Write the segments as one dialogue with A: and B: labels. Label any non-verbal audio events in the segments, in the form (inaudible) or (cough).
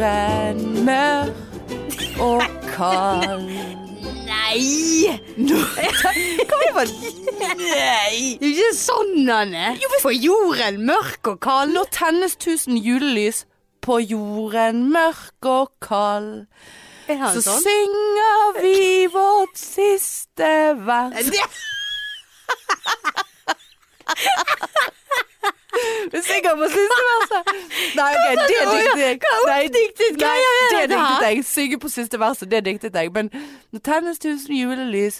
A: venner og Carl.
B: Nei!
A: Kan vi bare
B: Nei! Det er ikke sånn han er. På jorden mørk (laughs) og kald.
A: Nå tennes tusen julelys på jorden mørk og kald.
B: Er han
A: Så
B: sånn?
A: synger vi vårt siste vers.
B: Det,
A: Du synger på siste verset. Nei, ok, det diktet jeg. Nei,
B: oppdiktet
A: nei,
B: greier er
A: det
B: dette her?
A: diktet jeg. Synge på siste verset, det diktet jeg. Men nå tennes tusen julelys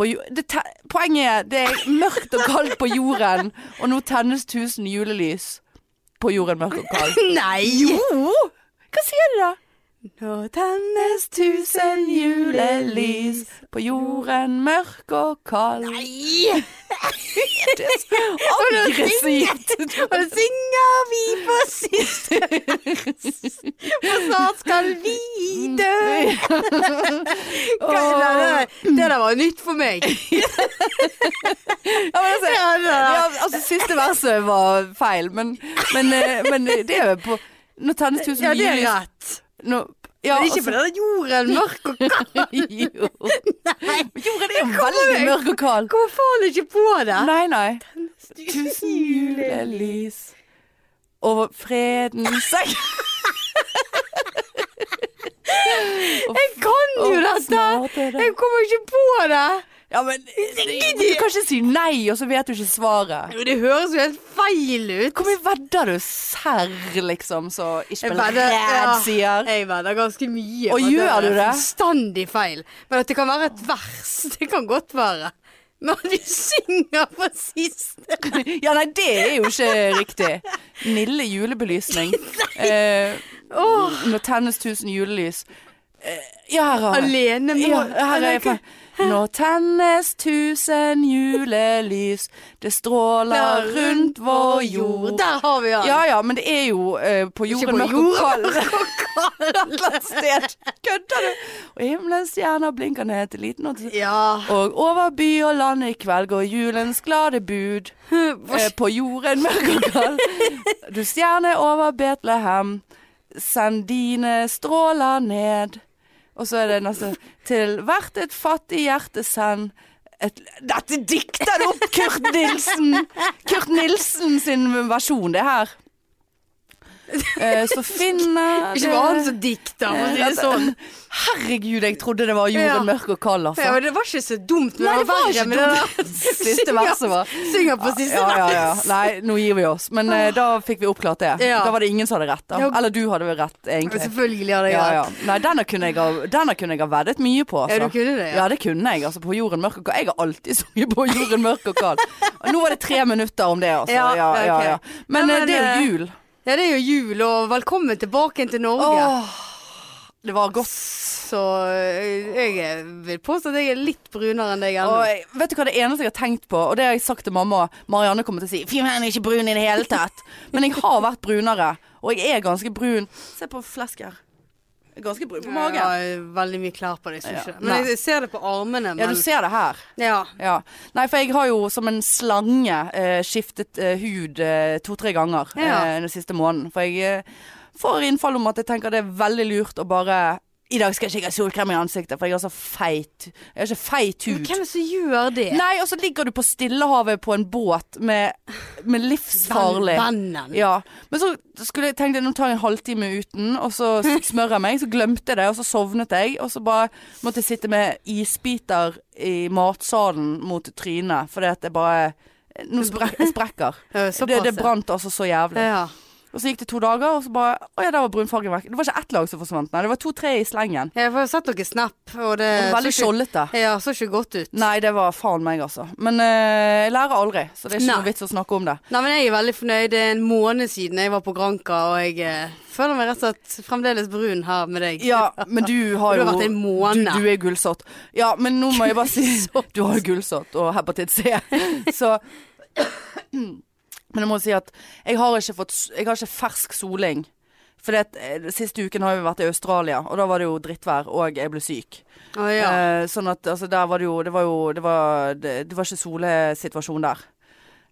A: på jo- det te Poenget er det er mørkt og kaldt på jorden, og nå tennes tusen julelys på jorden mørk og kald.
B: nei!
A: Jo! Hva sier du da?
B: Nå tennes
A: Tusen julelys på jorden mørk og kald.
B: Nei!
A: Aggressivt!
B: Og da synger vi på siste (laughs) For snart skal vi dø. Hva er det? Det der var nytt for meg.
A: Ja, men altså,
B: Ja, det er-
A: ja, altså, siste verset var feil, men, men, eh, men det er jo på Nå tennes tusen
B: Ja, det er
A: julelys
B: rett.
A: Nå, ja, altså.
B: Men ikke på den jorden mørk og kald.
A: (laughs) jo.
B: Nei.
A: Jorden er jo veldig mørk og kald.
B: Kommer faen ikke på det.
A: Nei, nei. Tusen julelys over fredens (laughs) seng.
B: Jeg kan jo
A: Og
B: dette.
A: snart er det-
B: Jeg kommer ikke på det.
A: Ja, men Du kan ikke si nei, og så vet du ikke svaret.
B: Det høres jo helt feil ut.
A: Hvor mye vedder du serr, liksom, så ikke
B: Jeg
A: blir
B: vedder-
A: redd,
B: ja,
A: sier?
B: Jeg vedder ganske mye.
A: Og
B: på at
A: gjør
B: det
A: du
B: er
A: det?
B: Fullstendig feil. Men at det kan være et vers, (laughs) det kan godt være. Men at vi synger på siste
A: (laughs) Ja, nei, det er jo ikke riktig. Nille
B: (laughs)
A: julebelysning. Eh, Nå tennes tusen julelys. Eh, ja, her har jeg
B: Alene må
A: ja, her er jeg fra. Nå tennes tusen julelys, det stråler rundt vår jord.
B: Der har vi han. (laughs)
A: Ja ja, men det er jo eh, på
B: Ikke
A: jorden
B: på
A: mørk og
B: jorden,
A: kald.
B: mørk og kald.
A: annet sted. Kødder du? Og himmelens stjerner blinker ned til liten og
B: Ja.
A: Og over by og land i kveld går julens glade bud. Eh, på jorden (laughs) mørk og kald. Du stjerne over Betlehem, send dine stråler ned. Og så er det neste. Til hvert et fattig hjerte send et, dette dikter du opp Kurt Nilsen! Kurt Nilsen sin versjon, det her. Eh, så finner
B: Ikke bare han som dikter, for å si det
A: Altså,
B: sånn.
A: Herregud, jeg trodde det var jorden
B: Ja.
A: mørk og kald, altså.
B: Ja, men det var ikke så dumt, men
A: Nei,
B: det
A: det var
B: var
A: ikke
B: verre med det
A: dumt.
B: der. (laughs)
A: Siste verset var-
B: Synger på siste
A: ja, ja, ja.
B: vers.
A: Nei, nå gir vi oss. Men eh, da fikk vi oppklart det.
B: Ja.
A: Da var det ingen som hadde rett. da
B: Ja.
A: Eller du hadde vel rett,
B: Men
A: egentlig.
B: Selvfølgelig hadde jeg
A: Ja, ja.
B: rett.
A: Nei, denne kunne, jeg ha, denne kunne jeg ha veddet mye på. Altså.
B: Ja, du kunne det, ja.
A: Ja, det kunne jeg. Altså, på jorden mørk og kald. Jeg har alltid (laughs) sunget på jorden mørk og kald. Og nå var det tre minutter om det, altså.
B: Ja,
A: Ja, ja, ja,
B: ok.
A: Men,
B: Nei,
A: eh,
B: men,
A: det er
B: eh,
A: jo jul.
B: Ja, det er jo jul, og velkommen tilbake igjen til Norge.
A: Åh, det var godt.
B: Så øh, jeg vil påstå at jeg er litt brunere enn deg
A: Og
B: ennå.
A: jeg, vet du hva det eneste jeg har tenkt på, og det har jeg sagt til mamma Marianne kommer til å si 'Fy, hun er ikke brun i det hele (laughs) tatt'. Men jeg har vært brunere, og jeg er ganske brun. Se på flesk her. Jeg er Ganske brun på
B: Jeg
A: magen.
B: har veldig mye klær på deg, syns
A: Ja.
B: jeg. Men jeg ser det på armene.
A: Ja,
B: Men,
A: du ser det her.
B: ja.
A: Ja. Nei, for jeg har jo som en slange eh, skiftet eh, hud eh, to-tre ganger
B: Ja.
A: eh, den siste måneden. For jeg eh, får innfall om at jeg tenker det er veldig lurt å bare I dag skal jeg ikke ha solkrem i ansiktet, for jeg har så feit Jeg har ikke feit
B: Men
A: hud.
B: hvem er det som gjør det?
A: Nei, og så ligger du på Stillehavet på en båt med, med livsfarlig
B: Vennen.
A: ja. Men så skulle jeg tenkte jeg, nå tar jeg en halvtime uten, og så
B: (laughs)
A: smører jeg meg. Så glemte jeg det, og så sovnet jeg. Og så bare måtte jeg sitte med isbiter i matsalen mot trynet, fordi at jeg bare Nå sprek, jeg sprekker.
B: (laughs) Ja,
A: Det,
B: såpass,
A: det brant altså så jævlig.
B: Ja.
A: Og så gikk det to dager, og så bare Å ja, der var brunfargen vekk. Det var ikke ett lag som forsvant, nei. Det var to-tre i slengen.
B: Jeg har sett dere snap, og det
A: Veldig
B: Eh, så ikke-
A: skjoldete.
B: Ja, så ikke godt ut.
A: Nei, det var faen meg, altså. Men eh, jeg lærer aldri, så det er ikke
B: Nei.
A: noe vits å snakke om det.
B: Nei, men jeg er veldig fornøyd. Det er en måned siden jeg var på Granka, og jeg eh, føler meg rett og slett fremdeles brun her med deg.
A: Ja, men du har
B: (laughs) Du
A: jo
B: har vært en måned.
A: Du, du er gullsott. Ja, men nå må jeg
B: (laughs)
A: bare si Du har jo gullsott og hepatitt C, (laughs) så Men jeg må si at jeg har ikke fått s- Jeg har ikke fersk soling. For det, at, eh, siste uken har vi vært i Australia, og da var det jo drittvær, og jeg ble syk.
B: Å, ja.
A: Eh, sånn at altså, der var det jo Det var jo Det var, det, det var ikke solesituasjon der.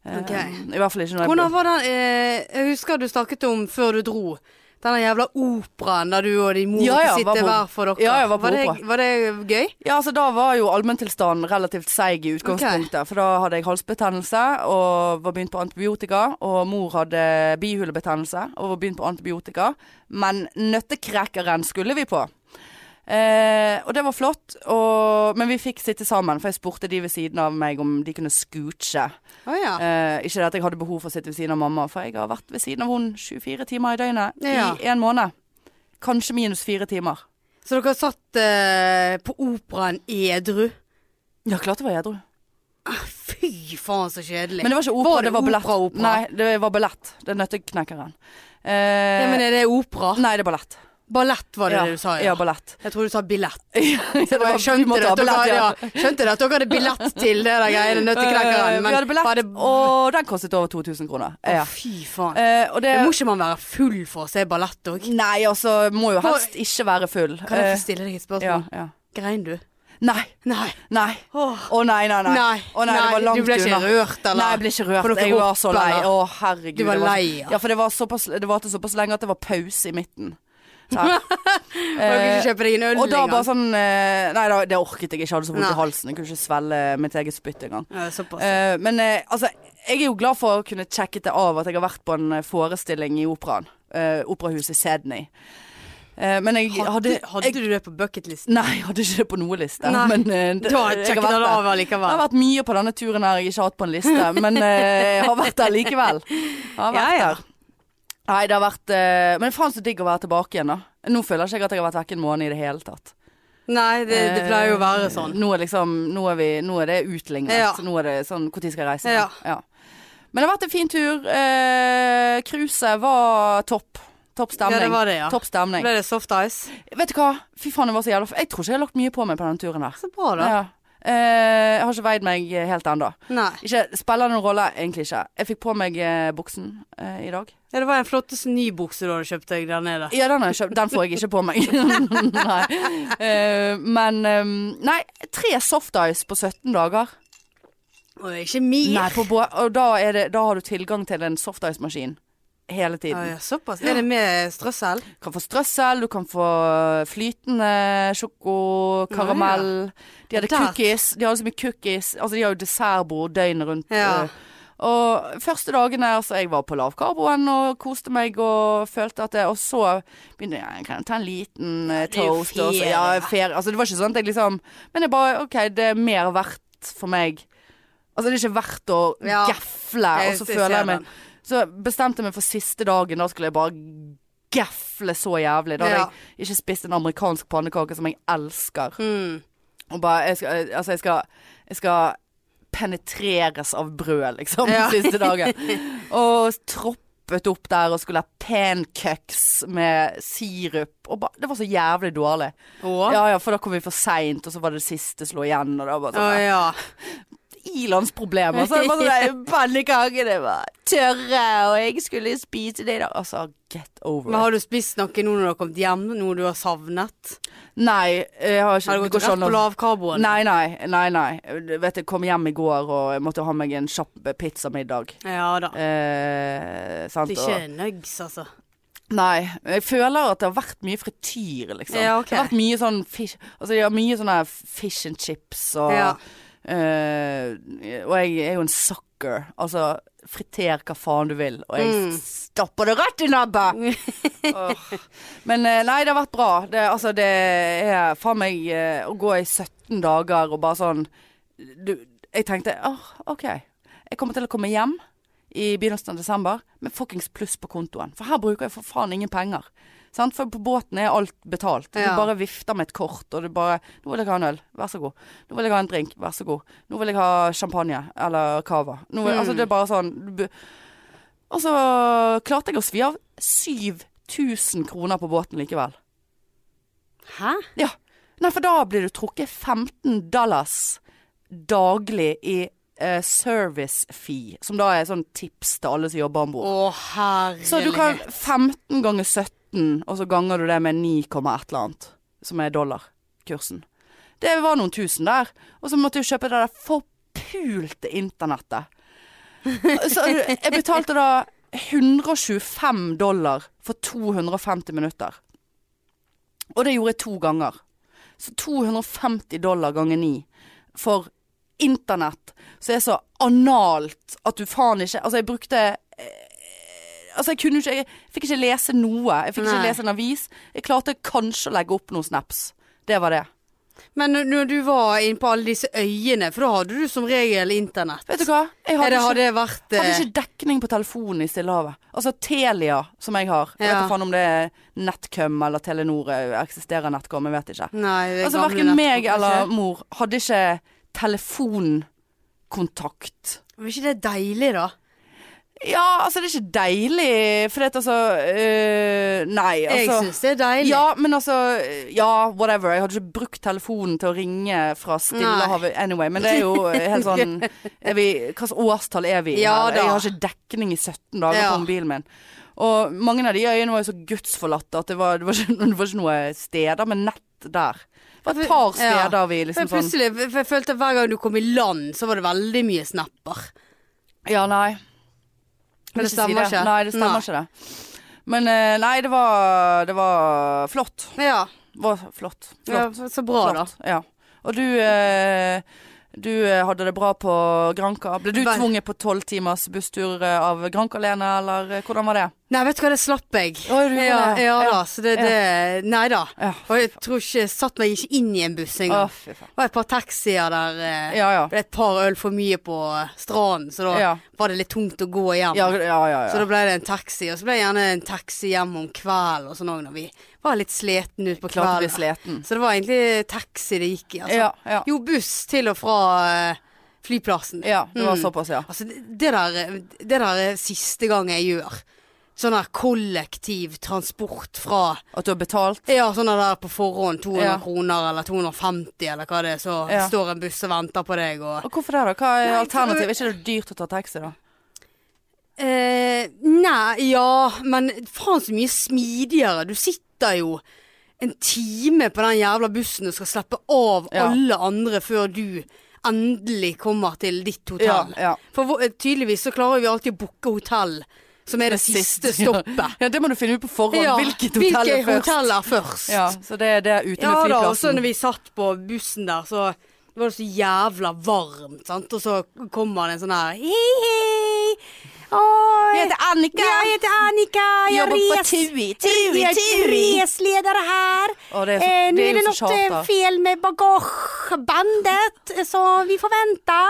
A: Eh,
B: Ok.
A: I hvert fall ikke når jeg
B: Hvordan var den eh, Jeg husker du snakket om før du dro. Den jævla operaen der du og din mor
A: Ja, ja, var
B: sitter
A: på-
B: hver for dere.
A: Ja, jeg var på opera.
B: det, var det gøy?
A: Ja, altså da var jo allmenntilstanden relativt seig i utgangspunktet. For da hadde jeg halsbetennelse og var begynt på antibiotika. Og mor hadde bihulebetennelse og var begynt på antibiotika. Men nøttekrekkeren skulle vi på. Eh, og det var flott, og, men vi fikk sitte sammen, for jeg spurte de ved siden av meg om de kunne scooche.
B: Å ja.
A: Eh, ikke det at jeg hadde behov for å sitte ved siden av mamma, for jeg har vært ved siden av hun 24 timer i døgnet
B: Ja.
A: i en måned. Kanskje minus fire timer.
B: Så dere satt eh, på operaen edru? Ah,
A: Ja, klart det var edru.
B: Fy faen, så kjedelig.
A: Men det var ikke opera,
B: Var
A: det,
B: det
A: var ballett.
B: opera, opera?
A: Nei, det var ballett. Det er Nøtteknekkeren. Eh,
B: ja, men er det opera?
A: Nei, det er ballett.
B: Ballett var det
A: ja.
B: det du sa,
A: ja.
B: ja.
A: ballett.
B: Jeg tror du sa billett.
A: (laughs) det
B: Og jeg
A: vi
B: skjønte
A: måtte
B: (laughs) det,
A: ha
B: at dere,
A: ballett,
B: ja.
A: ja.
B: skjønte det at dere hadde billett
A: (laughs)
B: til det der greiene,
A: Eh,
B: nøtteknekkeren.
A: vi hadde billett,
B: var det
A: og den kostet over 2000 kroner. Eh, Ja.
B: Fy faen.
A: Eh, og det
B: Må ikke man være full for å se ballett òg?
A: Nei, altså, må jo helst ikke være full.
B: Kan jeg
A: Eh,
B: få stille deg et
A: ja,
B: spørsmål?
A: ja.
B: Grein du?
A: Nei,
B: Nei.
A: nei. Å nei, nei, nei.
B: Nei.
A: Å nei, det var langt
B: du ble ikke
A: unna.
B: rørt, eller?
A: Nei, jeg ble ikke
B: For
A: rørt.
B: dere
A: Jeg var
B: opp,
A: så lei.
B: eller?
A: Å, herregud.
B: Du var
A: det så-
B: lei, ja.
A: Ja, for det var såpass, det varte såpass lenge at det var pause i midten.
B: (laughs)
A: Sånn.
B: Og dere kunne ikke kjøpe deg en øl
A: Og da bare
B: engang?
A: sånn eh, Nei, da, det orket jeg ikke. Jeg hadde så vondt
B: Nei.
A: i halsen. Jeg kunne ikke svelge mitt eget spytt engang.
B: Ja, Såpass.
A: Eh, men eh, altså, jeg er jo glad for å kunne sjekket det av at jeg har vært på en eh, forestilling i operaen. eh, operahuset i Sydney. Eh, men jeg hadde,
B: Hadde, hadde
A: jeg,
B: du det på bucketlisten?
A: Nei, jeg hadde ikke det på noen liste.
B: Nei.
A: Men eh, det-
B: Da
A: jeg har
B: sjekket
A: vært
B: dere
A: der.
B: av
A: Det har
B: allikevel.
A: vært mye på denne turen her jeg ikke har hatt på en liste, men eh, jeg har vært der likevel. Jeg Har vært
B: (laughs) Ja, ja.
A: der. Nei, det har vært eh, Men faen så digg å være tilbake igjen, da. Nå føler ikke jeg at jeg har vært vekke en måned i det hele tatt.
B: Nei, det, det pleier jo å være
A: Eh,
B: sånn.
A: Nå er, liksom, nå er, vi, nå er det utlignet.
B: Ja.
A: Nå er det sånn Når skal jeg reise?
B: Ja.
A: Men det har vært en fin tur. Eh, Cruiset var topp. Topp stemning.
B: Ja, det var det, ja.
A: Topp stemning.
B: Ble det soft ice?
A: Vet du hva? Fy faen, det var så jævla f- Jeg tror ikke jeg har lagt mye på meg på denne turen her.
B: Så bra, da.
A: Ja. Eh, jeg har ikke veid meg helt ennå.
B: Nei.
A: Ikke, spiller noen rolle, egentlig ikke. Jeg fikk på meg eh, buksen eh, i dag.
B: Ja, det var den flotteste nybukse du hadde kjøpt deg der nede.
A: Ja, den, har jeg kjøpt. den får jeg ikke på meg. (laughs) nei. Eh, men eh, Nei, tre soft ice på 17 dager.
B: Og ikke min.
A: Nei, på bå og da, er det, da har du tilgang til en soft ice-maskin hele tiden.
B: Ja, ja, såpass. Er det med strøssel?
A: Du kan få strøssel, du kan få flytende sjoko, karamell. De hadde
B: Der.
A: cookies. De hadde så mye cookies. Altså, de har jo dessertbord døgnet rundt.
B: Ja.
A: eh, Og første dagene altså, jeg var på lavkarboen og koste meg og følte at jeg Og så begynte jeg kan jeg ta en liten eh,
B: det er jo
A: toast. og så-
B: ferie,
A: ja,
B: da.
A: ferie. Altså, det var ikke sånn at jeg liksom Men jeg bare OK, det er mer verdt for meg. Altså, det er ikke verdt å
B: Ja.
A: gefle,
B: Jeg-
A: og så
B: jeg ser
A: føler jeg
B: den.
A: meg Så bestemte jeg meg for siste dagen, da skulle jeg bare gefle så jævlig. Da hadde
B: Ja.
A: jeg ikke spist en amerikansk pannekake som jeg elsker.
B: Mm.
A: Og bare jeg skal, Altså, jeg skal, jeg skal penetreres av brød, liksom, (laughs)
B: Ja.
A: siste dagen. Og troppet opp der og skulle ha pancakes med sirup. Og ba, det var så jævlig dårlig.
B: Og?
A: Ja ja, for da kom vi for seint, og så var det siste slå igjen, og da bare
B: Å
A: sånn
B: ja.
A: ilandsproblemer. Så
B: (laughs)
A: det var sånn pannekakene var tørre, og jeg skulle spise det i dag. Altså, get over
B: Men
A: it.
B: har du spist noe nå når du har kommet hjem? Noe du har savnet?
A: Nei, jeg har ikke
B: Har du
A: det
B: gått
A: går ikke
B: rett
A: an å-
B: på lavkarboen?
A: Nei, nei, nei, nei. Vet, du, jeg kom hjem i går og jeg måtte ha meg en kjapp pizzamiddag.
B: Ja da.
A: Eh, sant?
B: Ah. Det er
A: og-
B: ikke nugs, altså.
A: Nei. Jeg føler at det har vært mye frityr, liksom.
B: Ja, ok.
A: Det har vært mye sånn fish Altså, de har mye sånne fish and chips og
B: Ja.
A: eh, Og jeg er jo en sucker. Altså, friter hva faen du vil, og jeg
B: Mm.
A: stapper det rett i nebbet! Åh. Men eh, nei, det har vært bra. Det, altså, det er faen meg eh, å gå i 17 dager og bare sånn du, Jeg tenkte åh, OK. Jeg kommer til å komme hjem i begynnelsen av desember med fuckings pluss på kontoen. For her bruker jeg for faen ingen penger. Sant? For på båten er alt betalt.
B: Ja.
A: Du bare vifter med et kort, og du bare 'Nå vil jeg ha en øl. Vær så god. Nå vil jeg ha en drink. Vær så god. Nå vil jeg ha champagne. Eller cava. Nå vil, Altså, det er bare sånn du bu- Og så klarte jeg å svi av 7000 kroner på båten likevel.
B: Hæ?
A: Ja. Nei, for da blir du trukket 15 dollars daglig i eh, service fee, som da er sånn tips til alle som jobber om bord.
B: Å herlighet.
A: Så du kan 15 ganger 17, og så ganger du det med 9, komma et eller annet, som er dollarkursen. Det var noen tusen der. Og så måtte jeg kjøpe det der forpulte internettet. Så jeg betalte da 125 dollar for 250 minutter. Og det gjorde jeg to ganger. Så 250 dollar ganger ni for internett som er så analt at du faen ikke Altså, jeg brukte eh, Altså, jeg kunne jo ikke Jeg fikk ikke lese noe. Jeg fikk ikke
B: Nei.
A: lese en avis. Jeg klarte kanskje å legge opp noen snaps. Det var det.
B: Men når- når du var inne på alle disse øyene, for da hadde du som regel internett.
A: Vet du hva? Jeg
B: Eller
A: hadde ikke,
B: hadde det vært eh,
A: hadde ikke dekning på telefonen i Stillehavet. Altså Telia, som jeg har. Jeg vet
B: Ja.
A: ikke faen om det er NetCom eller Telenor eh, eksisterer NetCom, jeg vet ikke.
B: Nei, det
A: Altså
B: gamle
A: Verken
B: nettet,
A: meg
B: kanskje.
A: eller mor hadde ikke telefonkontakt.
B: Var ikke det deilig, da?
A: Ja, altså det er ikke deilig, for det er altså øh, Nei,
B: Jeg
A: altså
B: syns det er deilig.
A: Ja, men altså Ja, whatever. Jeg hadde ikke brukt telefonen til å ringe fra Stillehavet anyway. Men det er jo helt
B: (laughs)
A: sånn er vi, Hvilket årstall er vi i?
B: Ja
A: her?
B: da.
A: jeg har ikke dekning i 17 dager
B: Ja.
A: på mobilen min. Og mange av de øyene var jo så gudsforlatte at det var, det var, ikke, (laughs) det var ikke noe steder med nett der. Det var et par
B: Ja.
A: steder vi
B: For jeg
A: liksom sånn
B: plutselig for jeg følte at hver gang du kom i land, så var det veldig mye snapper.
A: Ja, nei.
B: Men
A: Vil
B: det
A: si
B: stemmer
A: det.
B: ikke.
A: Nei, det stemmer
B: Nei.
A: ikke det. Men eh, nei, det var, det var flott.
B: Ja,
A: Det var flott. flott.
B: ja så bra, da.
A: flott. Ja. Og du eh, du eh, hadde det bra på Granka. Ble du
B: Vel-
A: tvunget på tolv timers busstur eh, av Granka alene, eller eh, hvordan var det?
B: Nei, vet du hva, det slapp jeg.
A: Å, du gjorde
B: ja,
A: det.
B: ja
A: Ja.
B: da, så det, det Nei da.
A: Ja.
B: Og jeg tror ikke jeg satt meg ikke inn i en buss
A: Å,
B: engang.
A: fy faen.
B: Det var et par taxier der. eh,
A: Ja ja.
B: Det ble et par øl for mye på eh, stranden, så da
A: Ja.
B: var det litt tungt å gå hjem.
A: Ja, ja, ja,
B: Så
A: ja.
B: da ble det en taxi, og så ble det gjerne en taxi hjem om kvelden og sånn òg, når vi var litt sliten ut på
A: Klart du
B: kvelden.
A: blir sliten.
B: Så det var egentlig taxi det gikk i, altså.
A: Ja, ja.
B: Jo, buss til og fra eh, flyplassen.
A: ja. Det var
B: Mm.
A: såpass, ja.
B: Altså, det det der, eh, det der er siste gang jeg gjør. Sånn der kollektiv transport fra
A: At du har betalt?
B: Ja, sånn der på forhånd. 200
A: Ja.
B: kroner eller 250 eller hva det er. Så
A: Ja.
B: står en buss og venter på deg og
A: Og hvorfor det, da? Hva er
B: Nei,
A: alternativet? Er ikke det dyrt å ta taxi, da?
B: Eh, nei, ja, men faen så mye smidigere. Du sitter jo en time på den jævla bussen og skal slappe av
A: Ja.
B: alle andre før du endelig kommer til ditt
A: Ja,
B: hotell.
A: ja.
B: For hvor- eh, tydeligvis så klarer vi alltid å booke hotell som er det,
A: (laughs)
B: siste
A: ja.
B: stoppet.
A: Ja, det må du finne ut på forhånd.
B: Ja,
A: Hvilket hotell er
B: hvilke
A: først?
B: hotell er først?
A: Ja, så det er det ute med
B: Ja da, og så
A: flyplassen.
B: når vi satt på bussen der, så var det så jævla varmt, sant. Og så kommer det en sånn her Hei, hei. Oi.
A: Jeg heter Annika.
B: Ja, jeg heter Annika. Jeg
A: Jobber på
B: res-
A: Tui, Tui,
B: jeg er
A: Tui.
B: Resleder her.
A: Å, det er så-
B: eh,
A: det er
B: nå er
A: jo
B: det
A: så
B: noe
A: tjat, da.
B: feil med bagasjebandet, eh, så vi får vente.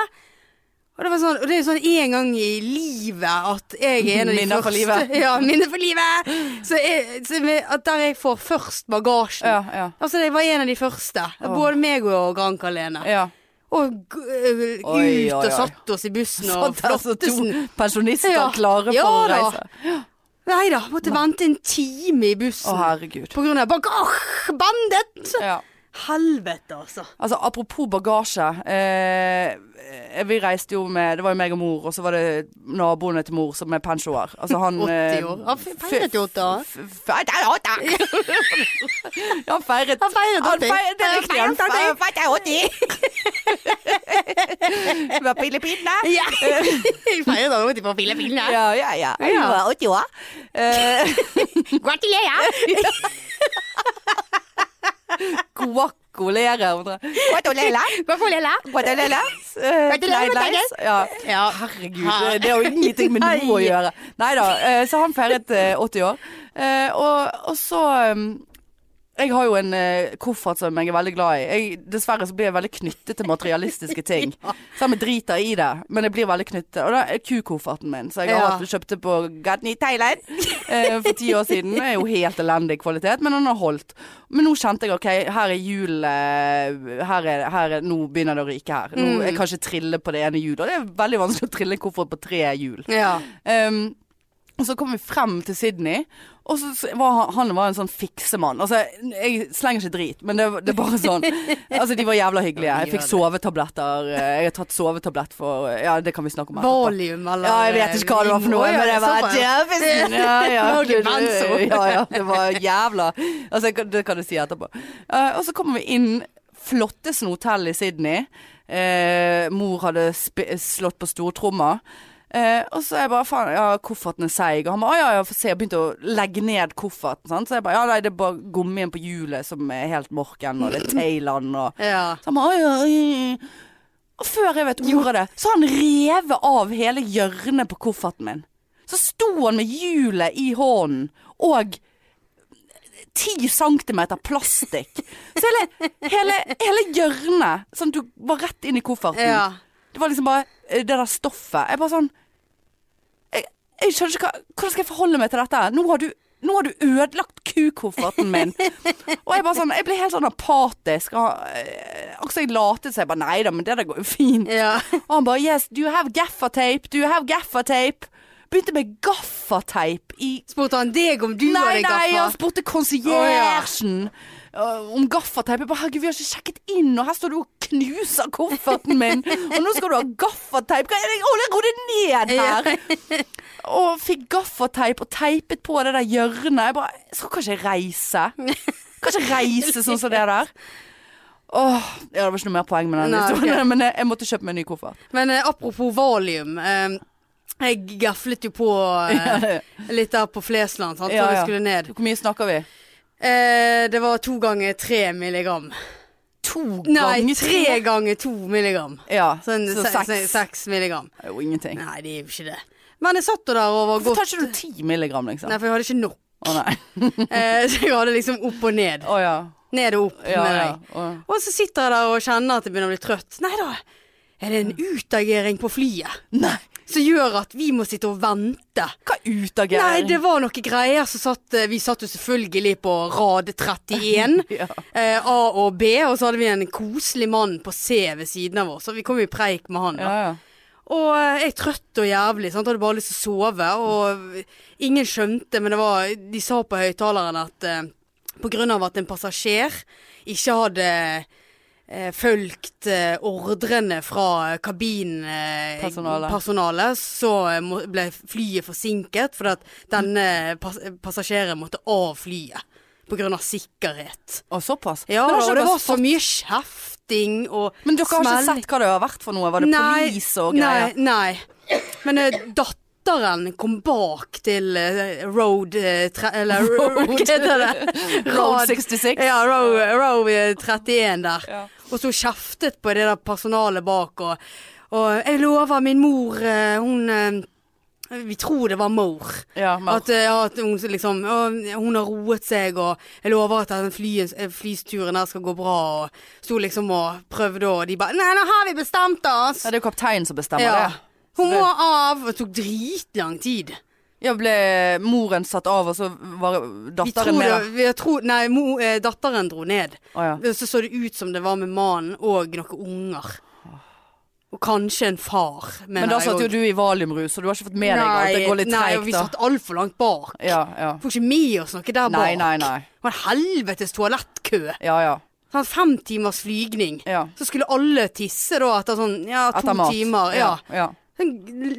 B: Og det, var sånn, og det er sånn en gang i livet at jeg er en av de
A: Minner for
B: første
A: livet.
B: (laughs) Ja, minner for livet. Så jeg, så vi- at der jeg får først bagasjen.
A: Ja, ja.
B: Altså, jeg var en av de første. Både meg og Granka Lene.
A: ja.
B: Og g- øh, ut
A: Oi, oi, oi.
B: og satt oss i bussen og
A: Satt altså to
B: flottesen.
A: pensjonister
B: Ja.
A: klare
B: Ja
A: for å
B: da.
A: reise.
B: Nei da, måtte vente en time i
A: Å,
B: bussen.
A: herregud.
B: På grunn av bagasjebandet!
A: Ja.
B: Helvete, altså.
A: Altså, apropos bagasje. Eh, vi reiste jo med Det var jo meg og mor, og så var det naboene til mor som er pensjoer. Altså han
B: 80 år. Han fe- feiret jo åtte år. (laughs)
A: år. (laughs) Han feiret
B: Han feiret
A: Han
B: åtti.
A: feiret, det er riktig. Han
B: Han feiret
A: Vi var på Filippinene.
B: Ja. (laughs) Jeg feiret da ute på Filippinene.
A: Eh. Ja, ja, ja.
B: Ja.
A: Du var 80 år. Eh,
B: Gratulerer!
A: Guacolere. Guacolele.
B: (laughs) Gratulerer.
A: Guacolele. Eh,
B: Gratulerer med
A: Kleidleis. Ja.
B: Ja.
A: Herregud, det- det har jo ingenting med noe å gjøre. Nei da, så han feiret eh, 80 år. Eh, Og, og så um, Jeg har jo en eh, koffert som jeg er veldig glad i. Jeg, dessverre så blir jeg veldig knyttet til materialistiske ting. Selv om jeg driter i det, men jeg blir veldig knyttet. Og da er kukofferten min, som jeg har
B: Ja.
A: hatt- kjøpte på Gadni Thailand eh, for ti år siden. Den er jo helt elendig kvalitet, men den har holdt. Men nå kjente jeg OK, her er jul eh, her er, her er, Nå begynner det å ryke her. Nå, jeg kan ikke trille på det ene hjulet. Og det er veldig vanskelig å trille en koffert på tre hjul.
B: Ja.
A: Ehm, og så kom vi frem til Sydney, og så så var han, han var en sånn fiksemann. Altså, jeg slenger ikke drit, men det, det er bare sånn. Altså, de var jævla hyggelige. Jeg fikk sovetabletter. eh, Jeg har tatt sovetablett for Ja, det kan vi snakke om etterpå.
B: Valium, eller
A: Ja, jeg vet ikke hva det var for noe,
B: Å, ja,
A: men det var
B: såpass.
A: Jefferson. Ja, ja.
B: Norge Benzo.
A: (laughs) ja, ja, det var jævla Altså, jeg kan- det kan du si etterpå. Eh, og så kommer vi inn flotteste hotell i Sydney. Eh, mor hadde sp slått på stortromma. Eh, og så er jeg bare faen, ja, kofferten er seig. Og han bare å ja, ja, få se. Jeg begynte å legge ned kofferten. Sant? Så jeg bare ja, nei, det er bare gummien på hjulet som er helt morken, og det er Thailand og
B: Ja.
A: Så han bare å ja, øh. Og før jeg vet ordet av det, så har han revet av hele hjørnet på kofferten min. Så sto han med hjulet i hånden og ti centimeter plastikk. Så hele, hele, hele hjørnet sånn at du var rett inn i kofferten.
B: ja.
A: Det var liksom bare eh, det der stoffet. Jeg bare sånn Jeg, jeg skjønner ikke hva Hvordan skal jeg forholde meg til dette? her? Nå har du, nå har du ødelagt kukofferten min. og jeg bare sånn Jeg ble helt sånn apatisk. Og, eh, og så jeg latet som jeg bare Nei da, men det der går jo
B: (laughs)
A: fint.
B: ja.
A: Og han bare Yes, do you have gaffateip? Do you have gaffateip? Begynte med gaffateip i
B: Spurte han deg om du
A: Nei, altså.
B: hadde
A: nei, han
B: gaffa?
A: spurte konsiergen øh, om gaffateip. Jeg bare herregud, vi har ikke sjekket inn, og her står du og knuser kofferten
B: (laughs)
A: min, og nå skal du ha gaffateip. Hva er det? Å, jeg rodde ned her! Og fikk gaffateip og teipet på det der hjørnet. Jeg bare Skal kanskje reise? Kan ikke reise sånn som det der. Åh, ja, Det var ikke noe mer poeng med den
B: Nei,
A: historien,
B: ok.
A: men jeg, jeg måtte kjøpe meg en ny koffert.
B: Men eh, apropos valium. Eh, jeg gaflet jo på eh, litt der på Flesland sant,
A: Ja,
B: før
A: ja.
B: vi skulle ned.
A: Hvor mye snakker vi?
B: Eh, det var to ganger tre milligram.
A: To
B: Nei,
A: ganger
B: tre ganger to milligram.
A: Ja,
B: Sånn
A: så
B: se-
A: seks.
B: se- seks milligram.
A: Det er jo ingenting.
B: Nei, det er jo ikke det. Men jeg satt jo der og var
A: Hvorfor
B: godt
A: tar ikke du ti milligram, liksom?
B: Nei, for jeg hadde ikke
A: (laughs)
B: nok.
A: Å nei.
B: Eh, så jeg hadde liksom opp og ned.
A: Å ja.
B: Ned og opp,
A: Ja,
B: mener
A: ja.
B: jeg.
A: Å, ja.
B: Og så sitter jeg der og kjenner at jeg begynner å bli trøtt. Nei da, er det en utagering på flyet
A: Nei,
B: som gjør at vi må sitte og vente?
A: hva
B: Nei,
A: utagering?
B: det var noen greier som satt eh, Vi satt jo selvfølgelig på rad 31.
A: ja.
B: Eh, A og B, og så hadde vi en koselig mann på C ved siden av oss. Og vi kom i preik med han. da
A: Ja, ja.
B: Og eh, jeg er trøtt og jævlig, sant? hadde bare lyst til å sove. Og ingen skjønte, men det var, de sa på høyttaleren at eh, pga. at en passasjer ikke hadde eh, fulgt eh, ordrene fra
A: Personalet.
B: kabinpersonalet, personalet, så eh, må, ble flyet forsinket fordi at denne pass passasjeren måtte av flyet pga. sikkerhet.
A: Å, såpass?
B: Ja,
A: Men har
B: og
A: ikke
B: det
A: dere
B: var så
A: fått-
B: mye kjefting og
A: Men dere har
B: smelling.
A: ikke sett hva det har vært for noe? Var det polis og greier?
B: Nei, nei. Men eh, datteren kom bak til eh, road eh, tre,
A: (laughs)
B: Eller road, hva heter det? (laughs)
A: Road
B: Rad-
A: 66?
B: Ja, row, row eh, 31 der.
A: Ja.
B: Og så kjeftet på det der personalet bak og, og jeg lover min mor, eh, hun eh, Vi tror det var mor.
A: Ja, men-
B: At, eh, ja, at hun liksom å, Hun har roet seg, og jeg lover at den fly, eh, flysturen her skal gå bra. Og sto liksom og prøvde, og de bare Nei, nå har vi bestemt oss!
A: Nei, det er jo kapteinen som bestemmer det.
B: Hun må av. Det tok dritlang tid.
A: Ja, ble moren satt av, og så var
B: Vi
A: datteren
B: tror
A: med?
B: det,
A: da?
B: vi tror, nei, mo, eh, datteren dro ned.
A: Å ja.
B: Så så det ut som det var med mannen og noen unger. Og kanskje en far.
A: Men da satt jo du i valiumrus, så du har ikke fått med deg at det går litt
B: Nei, og
A: treigt,
B: vi
A: da.
B: satt altfor langt bak.
A: Ja, ja.
B: Får ikke med oss noe der bak.
A: Nei, nei, nei.
B: Det var en helvetes toalettkø.
A: Ja, ja.
B: Sånn fem timers flygning.
A: ja.
B: Så skulle alle tisse da etter sånn ja, to
A: Etter mat.
B: timer. Ja.
A: ja.
B: Sånn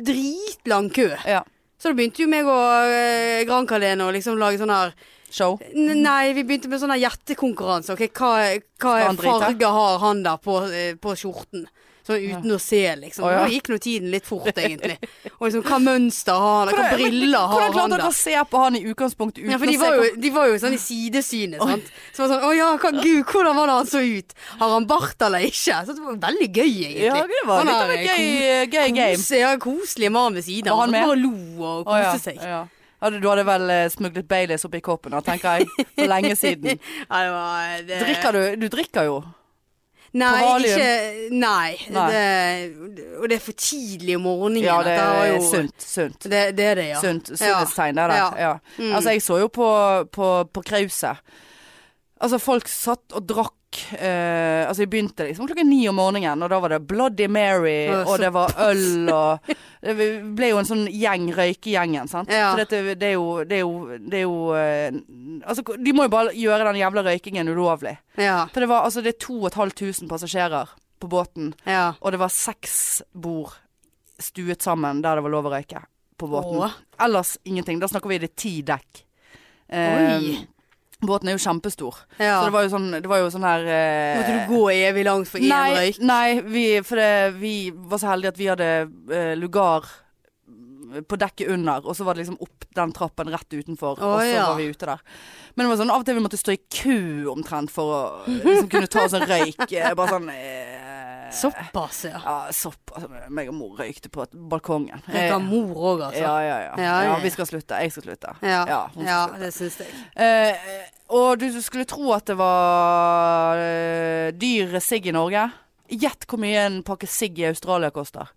B: dritlang kø.
A: ja.
B: Så da begynte jo meg og eh, Grankalene å liksom lage sånn her
A: Show.
B: N- Nei, vi begynte med sånn her gjettekonkurranse. Ok, hva, hva
A: Skal han
B: er
A: drite?
B: farge har han der på, eh, på skjorten? Sånn uten å se, liksom.
A: Å, ja.
B: Nå gikk nå tiden litt fort, egentlig. Og liksom, hva mønster har han? Hva
A: Hvordan-
B: briller
A: Hvordan
B: har han
A: klarte
B: der?
A: dere å se på han i utgangspunktet uten
B: Ja, for de
A: å se
B: var,
A: på
B: jo, de var jo sånn i sidesynet, sant. Så var det sånn, å ja, hva, gud, hvordan var det han så ut? Har han bart eller ikke? Så det var veldig gøy, egentlig.
A: Ja, det var
B: Han
A: litt av
B: er
A: en gøy, gøy game.
B: Kos, ja, koselig mann ved siden av.
A: Var han
B: Han
A: med?
B: bare lo og
A: Å,
B: koste
A: ja,
B: seg.
A: Ja. Ja, du, du hadde vel eh, smuglet Baileys oppi koppen, da, tenker jeg. For lenge
B: (laughs)
A: siden.
B: Ja, det var det...
A: Drikker du? Du drikker jo.
B: Nei,
A: På valium?
B: ikke Nei.
A: Nei.
B: Det, og det er for tidlig om morgenen.
A: Ja, det
B: Dette var
A: er
B: jo-
A: sunt. Sunt.
B: Det, det er det, ja.
A: sunt
B: Ja.
A: sunnhetstegn der, da.
B: Ja. Mm.
A: Ja. Altså, jeg så jo på, på, på krauset. Altså, folk satt og drakk eh, Altså, jeg begynte liksom klokken ni om morgenen, og da var det Bloody Mary,
B: Å,
A: og det
B: (laughs)
A: var øl, og Det ble jo en sånn gjeng, røykegjengen, sant.
B: Ja.
A: For dette, det er jo Det er jo, det er jo eh, Altså, de må jo bare gjøre den jævla røykingen ulovlig.
B: Ja.
A: For det var altså Det er 2500 passasjerer på båten,
B: ja.
A: og det var seks bord stuet sammen der det var lov å røyke på båten.
B: Åh.
A: Ellers ingenting. Da snakker vi det er ti dekk.
B: Oi.
A: båten er jo kjempestor.
B: ja.
A: Så det var jo sånn, det var jo sånn her eh,
B: Måtte du gå evig langt for én
A: Nei,
B: røyk?
A: nei vi, for det, vi var så heldige at vi hadde eh, lugar på dekket under, og så var det liksom opp den trappen rett utenfor,
B: Å,
A: og så
B: ja.
A: var vi ute der. Men det var sånn, av og til vi måtte stå i kø omtrent for å liksom, kunne ta oss en
B: (laughs)
A: røyk. eh, Bare sånn eh,
B: Såpass, ja.
A: Ja, sopp. Altså, meg og mor røykte på balkongen.
B: Dere har
A: Eh,
B: mor òg, altså.
A: ja, ja, ja, ja.
B: Ja, ja, ja.
A: vi skal slutte. Jeg skal slutte.
B: Ja, ja,
A: hun skal slutte.
B: det syns jeg.
A: Eh, og du skulle tro at det var eh, dyr sigg i Norge. Gjett hvor mye en pakke sigg i Australia koster.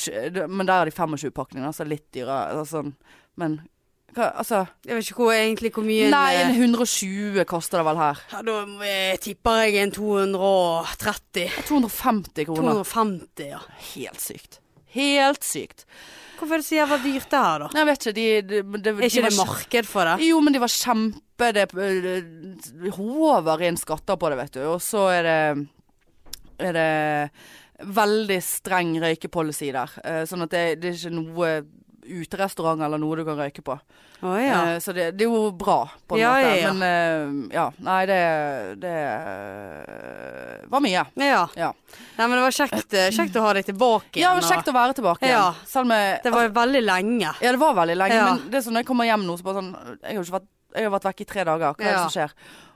A: Sj- det- Men der er de 25 pakningene, altså litt dyrere. Altså, sånn. Men hva, altså
B: Jeg vet ikke hvor, egentlig hvor mye en,
A: Nei, en
B: eh,
A: 120 koster det vel her.
B: ja, Da eh, tipper jeg en 230.
A: 250 kroner.
B: 250, ja.
A: Helt sykt. Helt sykt.
B: Hvorfor er det så jævla dyrt det her, da?
A: Nei, Jeg vet ikke, de, de, de, de
B: Er ikke
A: var
B: det marked for det?
A: Jo, men de var kjempe Det eh, håver inn skatter på det, vet du. Og så er det Er det veldig streng røykepolicy der. Eh, Sånn at det, det er ikke noe uterestaurant eller noe du kan røyke på.
B: Å ja.
A: Eh, Så det, det er jo bra, på en
B: Ja,
A: måte.
B: ja, ja.
A: Men eh, ja. Nei, det Det eh, var mye.
B: Ja.
A: Ja.
B: Nei, men det var kjekt, eh, kjekt å ha deg
A: ja, det
B: tilbake igjen.
A: var
B: og-
A: kjekt å være tilbake
B: Ja.
A: igjen. Selv om jeg
B: Det var veldig lenge.
A: Ja, det var veldig lenge,
B: Ja.
A: men det er sånn, når jeg kommer hjem nå, så bare sånn Jeg har, jo ikke vært, jeg har vært vekke i tre dager, hva er det
B: Ja.
A: som skjer?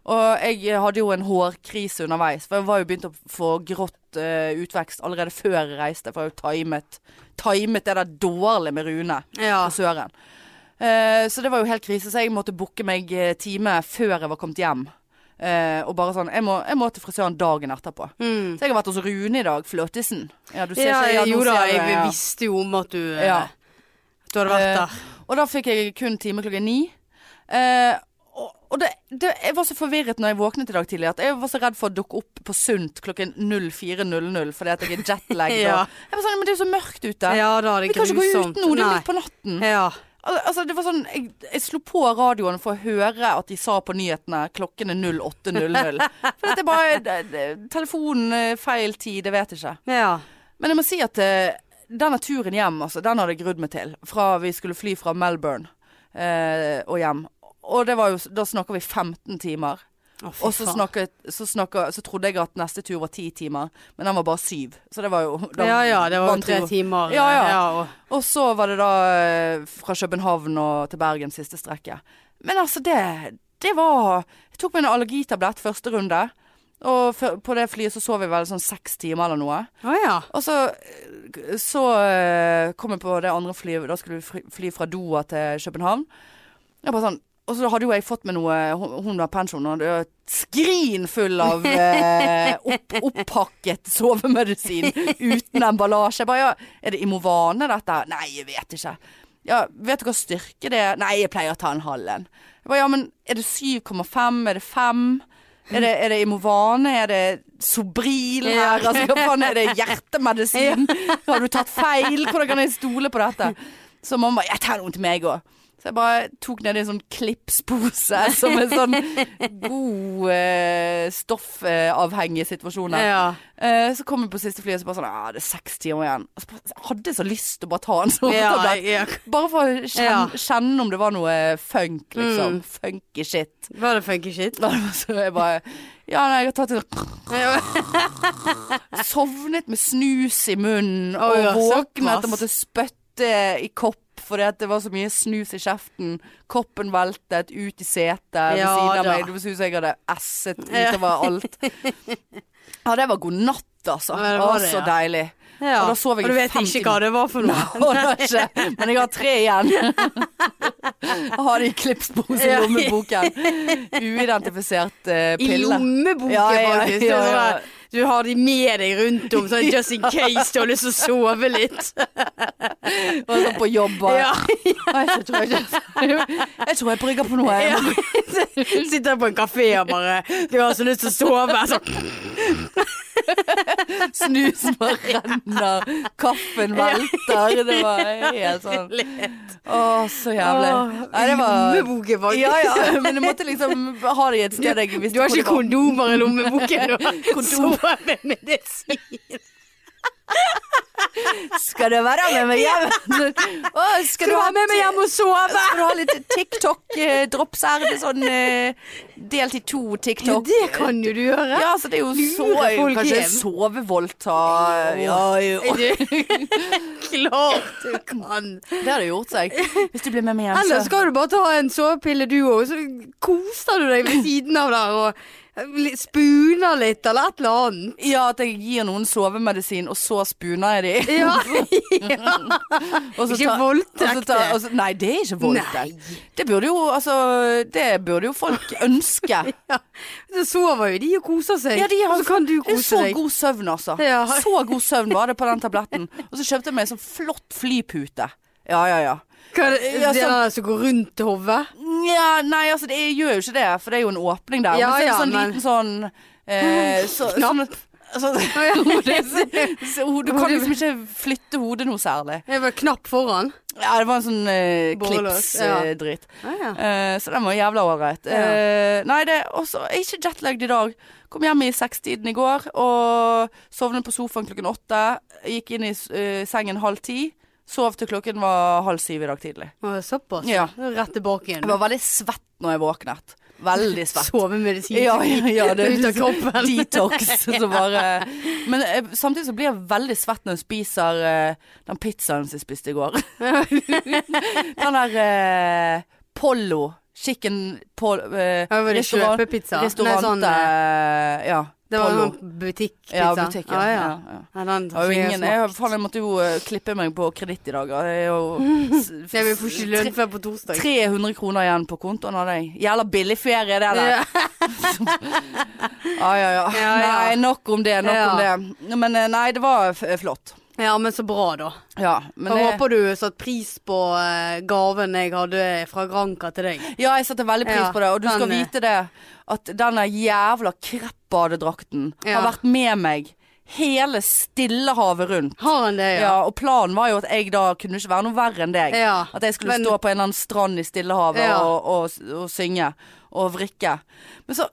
A: Og jeg hadde jo en hårkrise underveis, for jeg var jo begynt å få grått eh, utvekst allerede før jeg reiste, for jeg har jo timet, timet det der dårlig med Rune
B: Ja.
A: på Søren. Eh, så det var jo helt krise, så jeg måtte booke meg eh, time før jeg var kommet hjem. Eh, og bare sånn jeg må, jeg må til frisøren dagen etterpå.
B: Mm.
A: Så jeg har vært hos Rune i dag, fløtesen. Ja, du ser
B: Ja,
A: ikke ja, nå
B: jo da,
A: ser du,
B: jeg
A: ja.
B: visste jo om at du, eh,
A: Ja.
B: at du hadde vært
A: Eh,
B: der.
A: Og da fikk jeg kun time klokken ni. Eh, og og det, det, jeg var så forvirret når jeg våknet i dag tidlig at jeg var så redd for å dukke opp på Sunt klokken 04.00 fordi at jeg er
B: (laughs)
A: jetlagged.
B: Ja.
A: og- Jeg var sånn, Men det er jo så mørkt ute.
B: Ja da, det er
A: Vi kan ikke gå ut
B: grusomt.
A: nå, det er jo
B: Nei.
A: midt på natten.
B: Ja.
A: Al- Altså, det var sånn, jeg, jeg slo på radioen for å høre at de sa på nyhetene klokken er
B: (laughs)
A: 08.00. For at det bare det- det- Telefonen eh, feil tid, jeg vet ikke.
B: ja.
A: Men jeg må si at eh, denne turen hjem, altså, den hadde jeg grudd meg til. Fra vi skulle fly fra Melbourne eh, og hjem. Og det var jo, da snakker vi 15 timer.
B: Å, fy
A: Og så,
B: faen.
A: snakket, så, snakket, så trodde jeg at neste tur var 10 timer, men den var bare 7. Så det var jo da
B: Ja ja, det var jo
A: vant
B: tre
A: jo.
B: timer.
A: Ja, ja.
B: og,
A: Og så var det da eh, fra København og til Bergen siste strekket. Men altså, det, det var Jeg tok meg en allergitablett første runde. Og før- på det flyet så sov vi vel sånn seks timer eller noe.
B: Å ja.
A: Og så, så eh, kom jeg på det andre flyet, da skulle vi fly, fly fra Doha til København. Jeg bare sånn, og så hadde jo jeg fått med noe, hun hun har pensjon, og det er et skrin full av eh, opp, oppakket sovemedisin uten emballasje. Jeg bare, ja, er det Imovane dette? Nei, jeg vet ikke. Ja, vet du hva styrke det er? Nei, jeg pleier å ta en halv en. Jeg bare, ja, men er det 7,5? Er det 5? Er det, er det Imovane? Er det Sobril
B: Ja.
A: her? Altså, hva faen er
B: (laughs)
A: det hjertemedisin? Har du tatt feil? Hvordan kan jeg stole på dette? Så mamma bare, jeg tar noen til meg òg. Så jeg bare tok ned en sånn klipspose som en sånn god eh, stoffavhengig situasjon. der.
B: ja.
A: Eh, så kom vi på siste flyet, og så bare sånn Ja, det er seks timer igjen. Og så bare, jeg hadde så lyst til å bare ta en sånn
B: Ja,
A: tablett.
B: ja.
A: Bare for å kjenne,
B: Ja. Mm.
A: kjenne om det var noe funk, liksom. Funky shit.
B: Var det funky
A: (laughs)
B: shit?
A: Så jeg bare Ja, nei, jeg har tatt
B: (laughs)
A: en
B: Ja.
A: Sovnet med snus i munnen
B: Å, ja,
A: og våknet
B: såpass.
A: og måtte spytte i kopp fordi at det var så mye snus i kjeften. Koppen veltet ut i setet ved
B: Ja,
A: siden av
B: da.
A: meg. Det var sånn som jeg hadde esset utover
B: (laughs)
A: alt. Ja, det var god natt, altså.
B: Ja, det
A: Å,
B: var det,
A: så
B: ja.
A: deilig.
B: Ja.
A: Og da sov jeg
B: Og du
A: i
B: vet
A: fem
B: ikke
A: timer.
B: hva det var for noe?
A: Å, det var ikke. Men jeg har tre igjen. (laughs) Jeg har det i klipspose i
B: Ja.
A: lommeboken. Uidentifisert eh,
B: I
A: pille.
B: lommeboken,
A: Ja, ja,
B: faktisk. Det er
A: ja,
B: sånn
A: ja.
B: der, Du har de med deg rundt om, sånn just in case du har lyst til å sove litt.
A: Og sånn på jobb (laughs) bare.
B: Ja.
A: Nei, Jeg tror jeg, jeg tror jeg brygger på noe. Jeg
B: Ja. (laughs) Sitter på en kafé og bare Du har så lyst til å sove. Så.
A: Snusen bare renner, kaffen velter. Det var helt
B: (laughs)
A: sånn Å, så jævlig. Nei, det var
B: Lommeboken, faktisk.
A: Ja ja, men jeg måtte liksom ha det i et sted jeg visste
B: Du har
A: hvor det
B: ikke
A: var. (laughs)
B: kondomer i lommeboken?
A: Kondom.
B: Kondom med medisin.
A: Skal du være med meg hjem? Å, skal,
B: Skal du ha med meg hjem og sove?
A: Skal du ha litt TikTok-drops her? Det er sånn eh, delt i to
B: Ja,
A: TikTok.
B: det kan jo du gjøre.
A: Ja, så det er jo så
B: Lure folk
A: Kanskje
B: hjem.
A: sovevoldta ja, (laughs) jo.
B: Klart du kan.
A: Det hadde gjort
B: (laughs)
A: seg. Hvis du blir med meg hjem,
B: Eller
A: så
B: skal du bare ta en sovepille du òg, så koser du deg ved siden av der og li- spuner litt eller et eller annet.
A: Ja, at jeg gir noen sovemedisin, og så spuner jeg de.
B: Ja.
A: (laughs) Og så
B: (laughs) Ikke
A: ta-
B: voldtekt,
A: og så ta- og så- Nei, det er ikke voldtekt. Det burde jo, altså, det burde jo
B: (laughs)
A: folk ønske.
B: ja. Så sover jo de og koser seg.
A: Ja, de har-
B: og så kan du
A: Det er
B: kose
A: så
B: deg.
A: god søvn, altså.
B: Ja.
A: Så god søvn var det på den tabletten. Og så kjøpte jeg meg en sånn flott flypute. Ja, ja, ja.
B: Kan,
A: Ja,
B: det
A: så-
B: der som går rundt hodet.
A: Nja, nei, altså det gjør jo ikke det, for det er jo en åpning der.
B: Ja,
A: men så er det
B: ja,
A: sånn
B: men-
A: liten sånn eh, så, sånn,
B: (laughs)
A: sånn, (laughs) så, ho- Du kan liksom ikke flytte hodet noe særlig.
B: Det var knapp foran.
A: Ja, det var en sånn eh,
B: Borrelås, ja.
A: klips-dritt.
B: Ah, ja.
A: Eh, så den var jævla ålreit.
B: Ja.
A: Eh, nei, det er også jeg er ikke jetlagd i dag. Kom hjem i sekstiden i går og sovnet på sofaen klokken åtte. Gikk inn i s- eh, sengen halv ti. Sov til klokken var halv syv i dag tidlig.
B: Å, Såpass.
A: Ja.
B: Rett tilbake igjen.
A: Jeg var veldig svett når jeg våknet. Veldig svett.
B: Sovemedisin.
A: Ja, ja, ja, det er liksom
B: Ut av kroppen. (laughs)
A: Detox. Så bare Men eh, samtidig så blir jeg veldig svett når jeg spiser eh, den pizzaen som jeg spiste i
B: (laughs)
A: går. den der eh, Pollo. Chicken pol, eh,
B: Ja, var det
A: restaurant-
B: kjøpepizza? Nei,
A: Restaurant
B: sånn,
A: eh, Ja.
B: Det var
A: Pollo.
B: sånn butikkpizza.
A: Ja, butikken.
B: Ah, ja.
A: Ja, ja.
B: Ja, den
A: Det var jo ingen,
B: jeg,
A: jeg, faen, jeg måtte jo eh, klippe meg på kreditt i dag. og Jeg, er
B: (laughs)
A: jo s-
B: jeg vil få ikke lønn før på torsdag.
A: 300 kroner igjen på kontoen hadde jeg. Jævla billig ferie, det der.
B: Ja.
A: (laughs) Ja, ja, ja.
B: Ja, ja.
A: Nei, nok om det, nok
B: Ja.
A: om det. Men eh, nei, det var f flott.
B: ja, men så bra, da.
A: Ja, men
B: Da
A: det,
B: håper du satte pris på eh, gaven jeg hadde fra Granca til deg.
A: ja, jeg setter veldig pris
B: Ja,
A: på det. Og du skal
B: den, eh,
A: vite det, at denne jævla kreppbadedrakten har
B: Ja.
A: vært med meg hele Stillehavet rundt.
B: Har han det,
A: Ja.
B: ja?
A: og planen var jo at jeg da kunne ikke være noe verre enn deg.
B: Ja.
A: At jeg skulle
B: Men-
A: stå på en eller annen strand i Stillehavet
B: Ja.
A: og, og, og synge og vrikke. Men så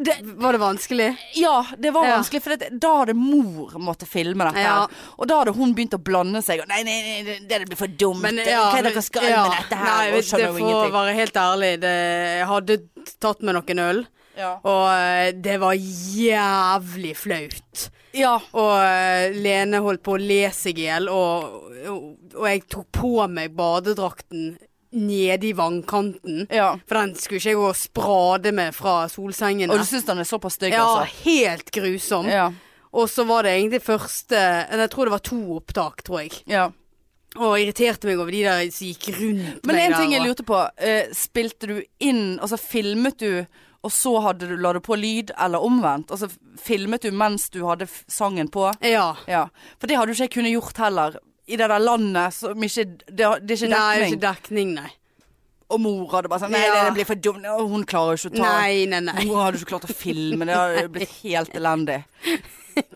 B: Var det vanskelig?
A: Ja, det var
B: Ja.
A: vanskelig, for det, da hadde mor måttet filme dette.
B: Ja.
A: her Og da hadde hun begynt å blande seg. Og, nei, nei, nei, det- det blir for dumt.
B: Men,
A: eh, Hva er det
B: men-
A: dere skal
B: ja.
A: med dette her?
B: Nei,
A: og
B: vet, det
A: skjønner jo
B: får
A: ingenting.
B: være helt ærlig. Det, jeg hadde tatt med noen øl,
A: Ja.
B: og eh, det var jævlig flaut.
A: ja.
B: Og eh, Lene holdt på å le seg i hjel, og, og, og jeg tok på meg badedrakten nede i vannkanten.
A: ja.
B: For den skulle ikke jeg gå og sprade med fra solsengene.
A: Og du syns den er såpass stygg,
B: Ja,
A: altså?
B: helt grusom.
A: Ja.
B: Og så var det egentlig første eller Jeg tror det var to opptak, tror jeg.
A: ja.
B: Og irriterte meg over de der som gikk rundt
A: Men
B: meg
A: en
B: der.
A: ting jeg
B: og-
A: lurte på. eh, spilte du inn Altså filmet du, og så hadde du, la du på lyd, eller omvendt? Altså filmet du mens du hadde f sangen på?
B: Ja.
A: Ja. For det hadde jo ikke jeg kunnet gjort heller. I det der landet som ikke Det, det er ikke dekning.
B: Nei, ikke dekning, nei.
A: Og mor hadde bare sånn Nei,
B: Ja.
A: det blir for dumt. Og Hun klarer jo ikke å ta
B: Nei, nei, nei.
A: Mor hadde jo ikke klart å filme. Det hadde blitt helt elendig.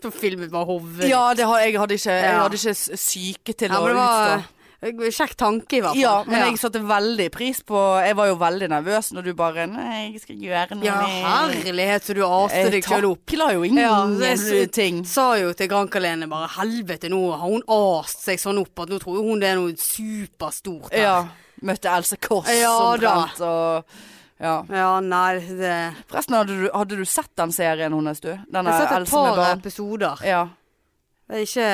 B: På filmen var hodet.
A: Ja, det har, jeg, hadde ikke, jeg
B: Ja.
A: hadde ikke s- syke til
B: Ja,
A: å
B: men det
A: utstå.
B: var en Kjekk tanke, i hvert fall.
A: Ja, men jeg satte veldig pris på Jeg var jo veldig nervøs når du bare Nei, jeg skal gjøre noe.
B: ja, herlighet, så du aste
A: Jeg
B: deg sjøl opp.
A: takler jo
B: Ja, jeg s-
A: ingenting.
B: Sa jo til Granca-Lene bare helvete, nå har hun ast seg sånn opp at nå tror hun det er noe superstort her.
A: Ja. Møtte Else Kåss
B: Ja, da.
A: omtrent og ja.
B: Ja, nei, det
A: Forresten, hadde du, hadde du sett den serien hennes, du? Den
B: Jeg har
A: der
B: sett et
A: Else med
B: par
A: barn?
B: episoder.
A: Ja.
B: Det er Ikke,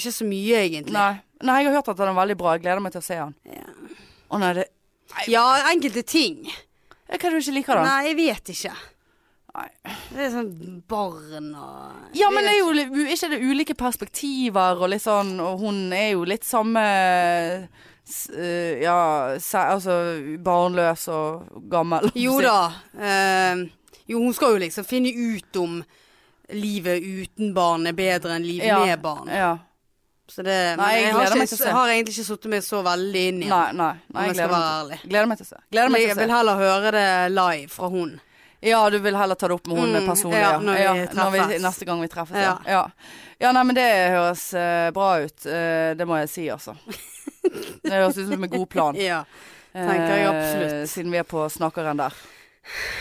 B: ikke så mye, egentlig.
A: Nei. nei, jeg har hørt at den er veldig bra. Jeg gleder meg til å se den. Å nei, det
B: Ja, enkelte ting.
A: Hva er det du ikke liker, da?
B: Nei, jeg vet ikke.
A: Nei.
B: Det er sånn barn og
A: Ja, men det er jo litt- u- ikke det ulike perspektiver og litt sånn, og hun er jo litt samme s- eh, Ja, sæ- altså barnløs og gammel.
B: Jo da. eh, jo, hun skal jo liksom finne ut om livet uten barn er bedre enn
A: (laughs)
B: livet
A: Ja.
B: med barn.
A: Ja.
B: Så det men
A: Nei, jeg
B: har,
A: gleder
B: ikke,
A: meg til å se.
B: jeg har egentlig ikke sittet meg så veldig inn i det,
A: Nei, nei. nei
B: om
A: jeg
B: jeg skal
A: gleder meg,
B: være ærlig.
A: til- gleder meg til å se. Gleder meg
B: Men
A: til å
B: jeg vil
A: se.
B: heller høre det live fra hun.
A: Ja, du vil heller ta det opp med hun
B: Mm,
A: personlig,
B: ja,
A: ja.
B: når vi
A: ja, når vi,
B: treffes.
A: neste gang vi treffes. Ja.
B: Ja.
A: Ja. ja, nei, men det høres eh, bra ut. Eh, det må jeg si,
B: (laughs)
A: altså. Det høres ut som en god plan.
B: Ja. Tenker jeg absolutt.
A: Eh, siden vi er på snakkeren der.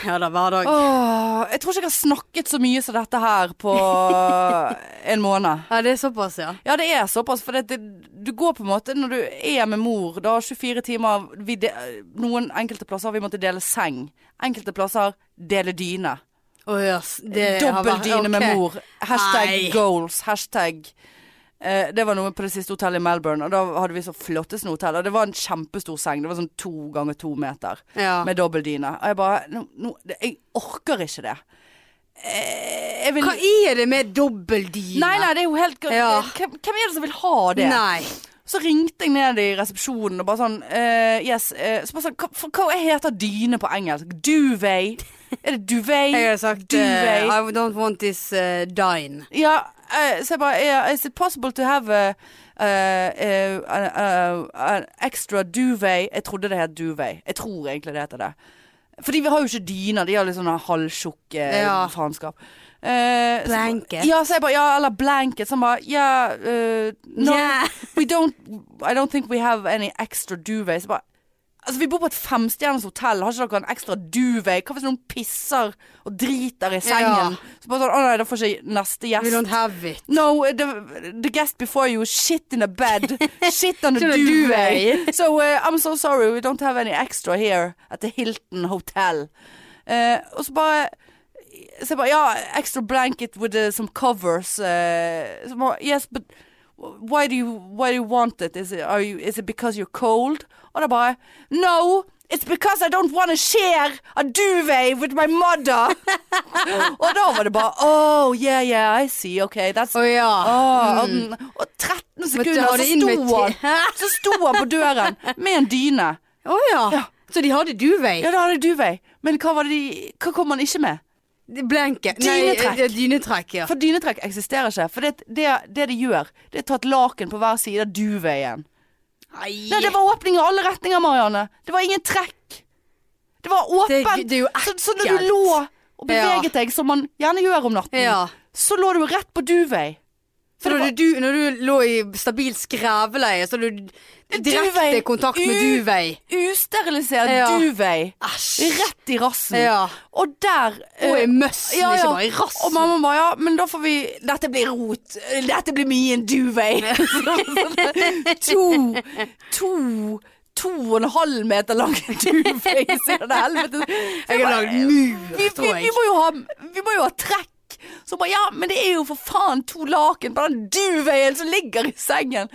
B: Ja da, hver dag.
A: Åh, jeg tror ikke jeg har snakket så mye som dette her på
B: (laughs)
A: en måned.
B: Ja, det er såpass, ja.
A: Ja, det er såpass, for det, det, du går på en måte Når du er med mor, da 24 timer vi de, Noen enkelte plasser har vi måttet dele seng. Enkelte plasser dele dyne.
B: Å ja, s- det har vært-
A: Dobbeldyne med
B: ok.
A: mor. Hashtag
B: Nei.
A: goals. Hashtag eh, Det var noe på det siste hotellet i Melbourne, og da hadde vi så flotteste hotell. Og det var en kjempestor seng. Det var sånn to ganger to meter
B: Ja.
A: med dobbeldyne. Og jeg bare nå, nå, det- Jeg orker ikke det. Eh, Jeg vil
B: Hva er det med dobbeldyne?
A: Nei, nei, det er jo helt Eh,
B: Ja.
A: hvem, hvem er det som vil ha det?
B: Nei.
A: Så ringte jeg ned i resepsjonen og bare sånn eh, Yes. eh, så bare sånn hva, for, hva heter dyne på engelsk? Duvet? Er det duvet?
B: Jeg har sagt eh,
A: duvet.
B: I don't want this eh, dine.
A: ja, eh, så jeg bare yeah, Is it possible to have a, eh, eh, an- eh, an extra duvet? Jeg trodde det het duvet. Jeg tror egentlig det heter det. Fordi vi har jo ikke dyner. De har litt sånn halvtjukk eh,
B: Ja.
A: faenskap. Eh, så-
B: Blanket.
A: Ja, så jeg bare, ja, eller blanket. Så han bare Ja, eh, no,
B: Yeah.
A: We don't I don't think we have any extra duvets. Bare, altså, vi bor på et femstjerners hotell. Har ikke dere en ekstra duvet? Hva hvis noen pisser og driter i sengen? Så bare sånn, å nei, da får ikke neste
B: We
A: gjest
B: don't have it.
A: No, the, the guest before you shit in a
B: (laughs)
A: bed. Shit on a
B: Shit on a
A: duvet.
B: duvet.
A: so uh, I'm so sorry, we don't have any extra here at the Hilton Hotel. Eh, og så bare Så jeg bare Ja, extra blanket with uh, some covers. eh, så bare, yes, but why do you why do you want it? Is it are you is it because you're cold? Og da bare No! It's because I don't want to share a duvet with my mother. (laughs) og da var det bare Oh, yeah, yeah, I see. Okay, that's
B: Å ja.
A: Åh, og den- Og 13 sekunder, så
B: har de
A: sto han
B: invitert-
A: Så sto han på døren med en dyne.
B: Å ja. Så de hadde duvet?
A: Ja, da hadde duvet. Men hva, var det de, hva kom han ikke med?
B: Det- Blanket.
A: Dynetrekk.
B: Nei, eh, dynetrekk, ja.
A: For dynetrekk eksisterer ikke. For det, det, det de gjør, det er å ta et laken på hver side av duvet igjen.
B: Nei.
A: Nei, det var åpning i alle retninger, Marianne. Det var ingen trekk. Det var
B: Det-
A: åpent.
B: det er jo
A: så, så når du
B: ekkelt.
A: lå og beveget deg, som man gjerne gjør om natten,
B: Ja.
A: så lå du rett på duvet.
B: Så
A: det
B: når
A: var-
B: du, når du lå i stabil skreveleie, så hadde du direkte
A: duvet.
B: kontakt med
A: U-
B: duvet.
A: Usterilisert
B: Ja.
A: duvet.
B: Æsj.
A: Rett i rassen.
B: Ja.
A: Og der
B: Og
A: eh,
B: i møssen,
A: ja, ja.
B: ikke bare i rassen.
A: Og mamma bare ja, men da får vi Dette blir rot. Dette blir mye en duvet. (laughs) sånn, to To To og en halv meter lang duvet. Så det helvete.
B: jeg har lagd
A: Vi,
B: mur,
A: vi,
B: tror
A: vi,
B: jeg.
A: må jo ha, vi må jo ha trekk. Så bare ja, men det er jo for faen to laken på den duveien som ligger i sengen.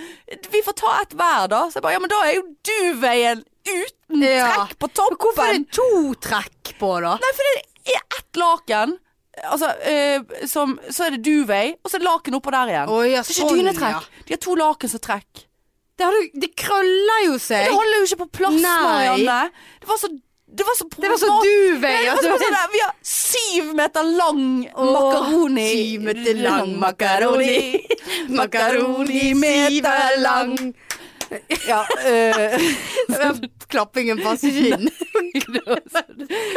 A: Vi får ta ett hver, da. Så jeg bare ja, men da er jo duveien uten
B: Ja.
A: trekk på toppen.
B: Hvorfor er det to trekk på, da?
A: Nei, for det er ett laken. Altså, eh, som, så er det duvet, og så er det laken oppå der igjen.
B: Å, ja,
A: det er ikke
B: sånn, ja.
A: dynetrekk. De har to laken som trekk.
B: Det, har du, det krøller jo
A: Det
B: seg.
A: holder jo ikke på plass,
B: Nei.
A: Marianne. Det var så Det var så,
B: Det var så
A: problemat-
B: duvet.
A: Ja, det var som
B: at du-
A: en
B: altså.
A: sånn der, vi har syv meter lang makaroni.
B: Syv meter lang
A: (laughs)
B: makaroni. (laughs) Makaroni meter lang.
A: Ja, eh, (laughs)
B: Klappingen passer ikke inn.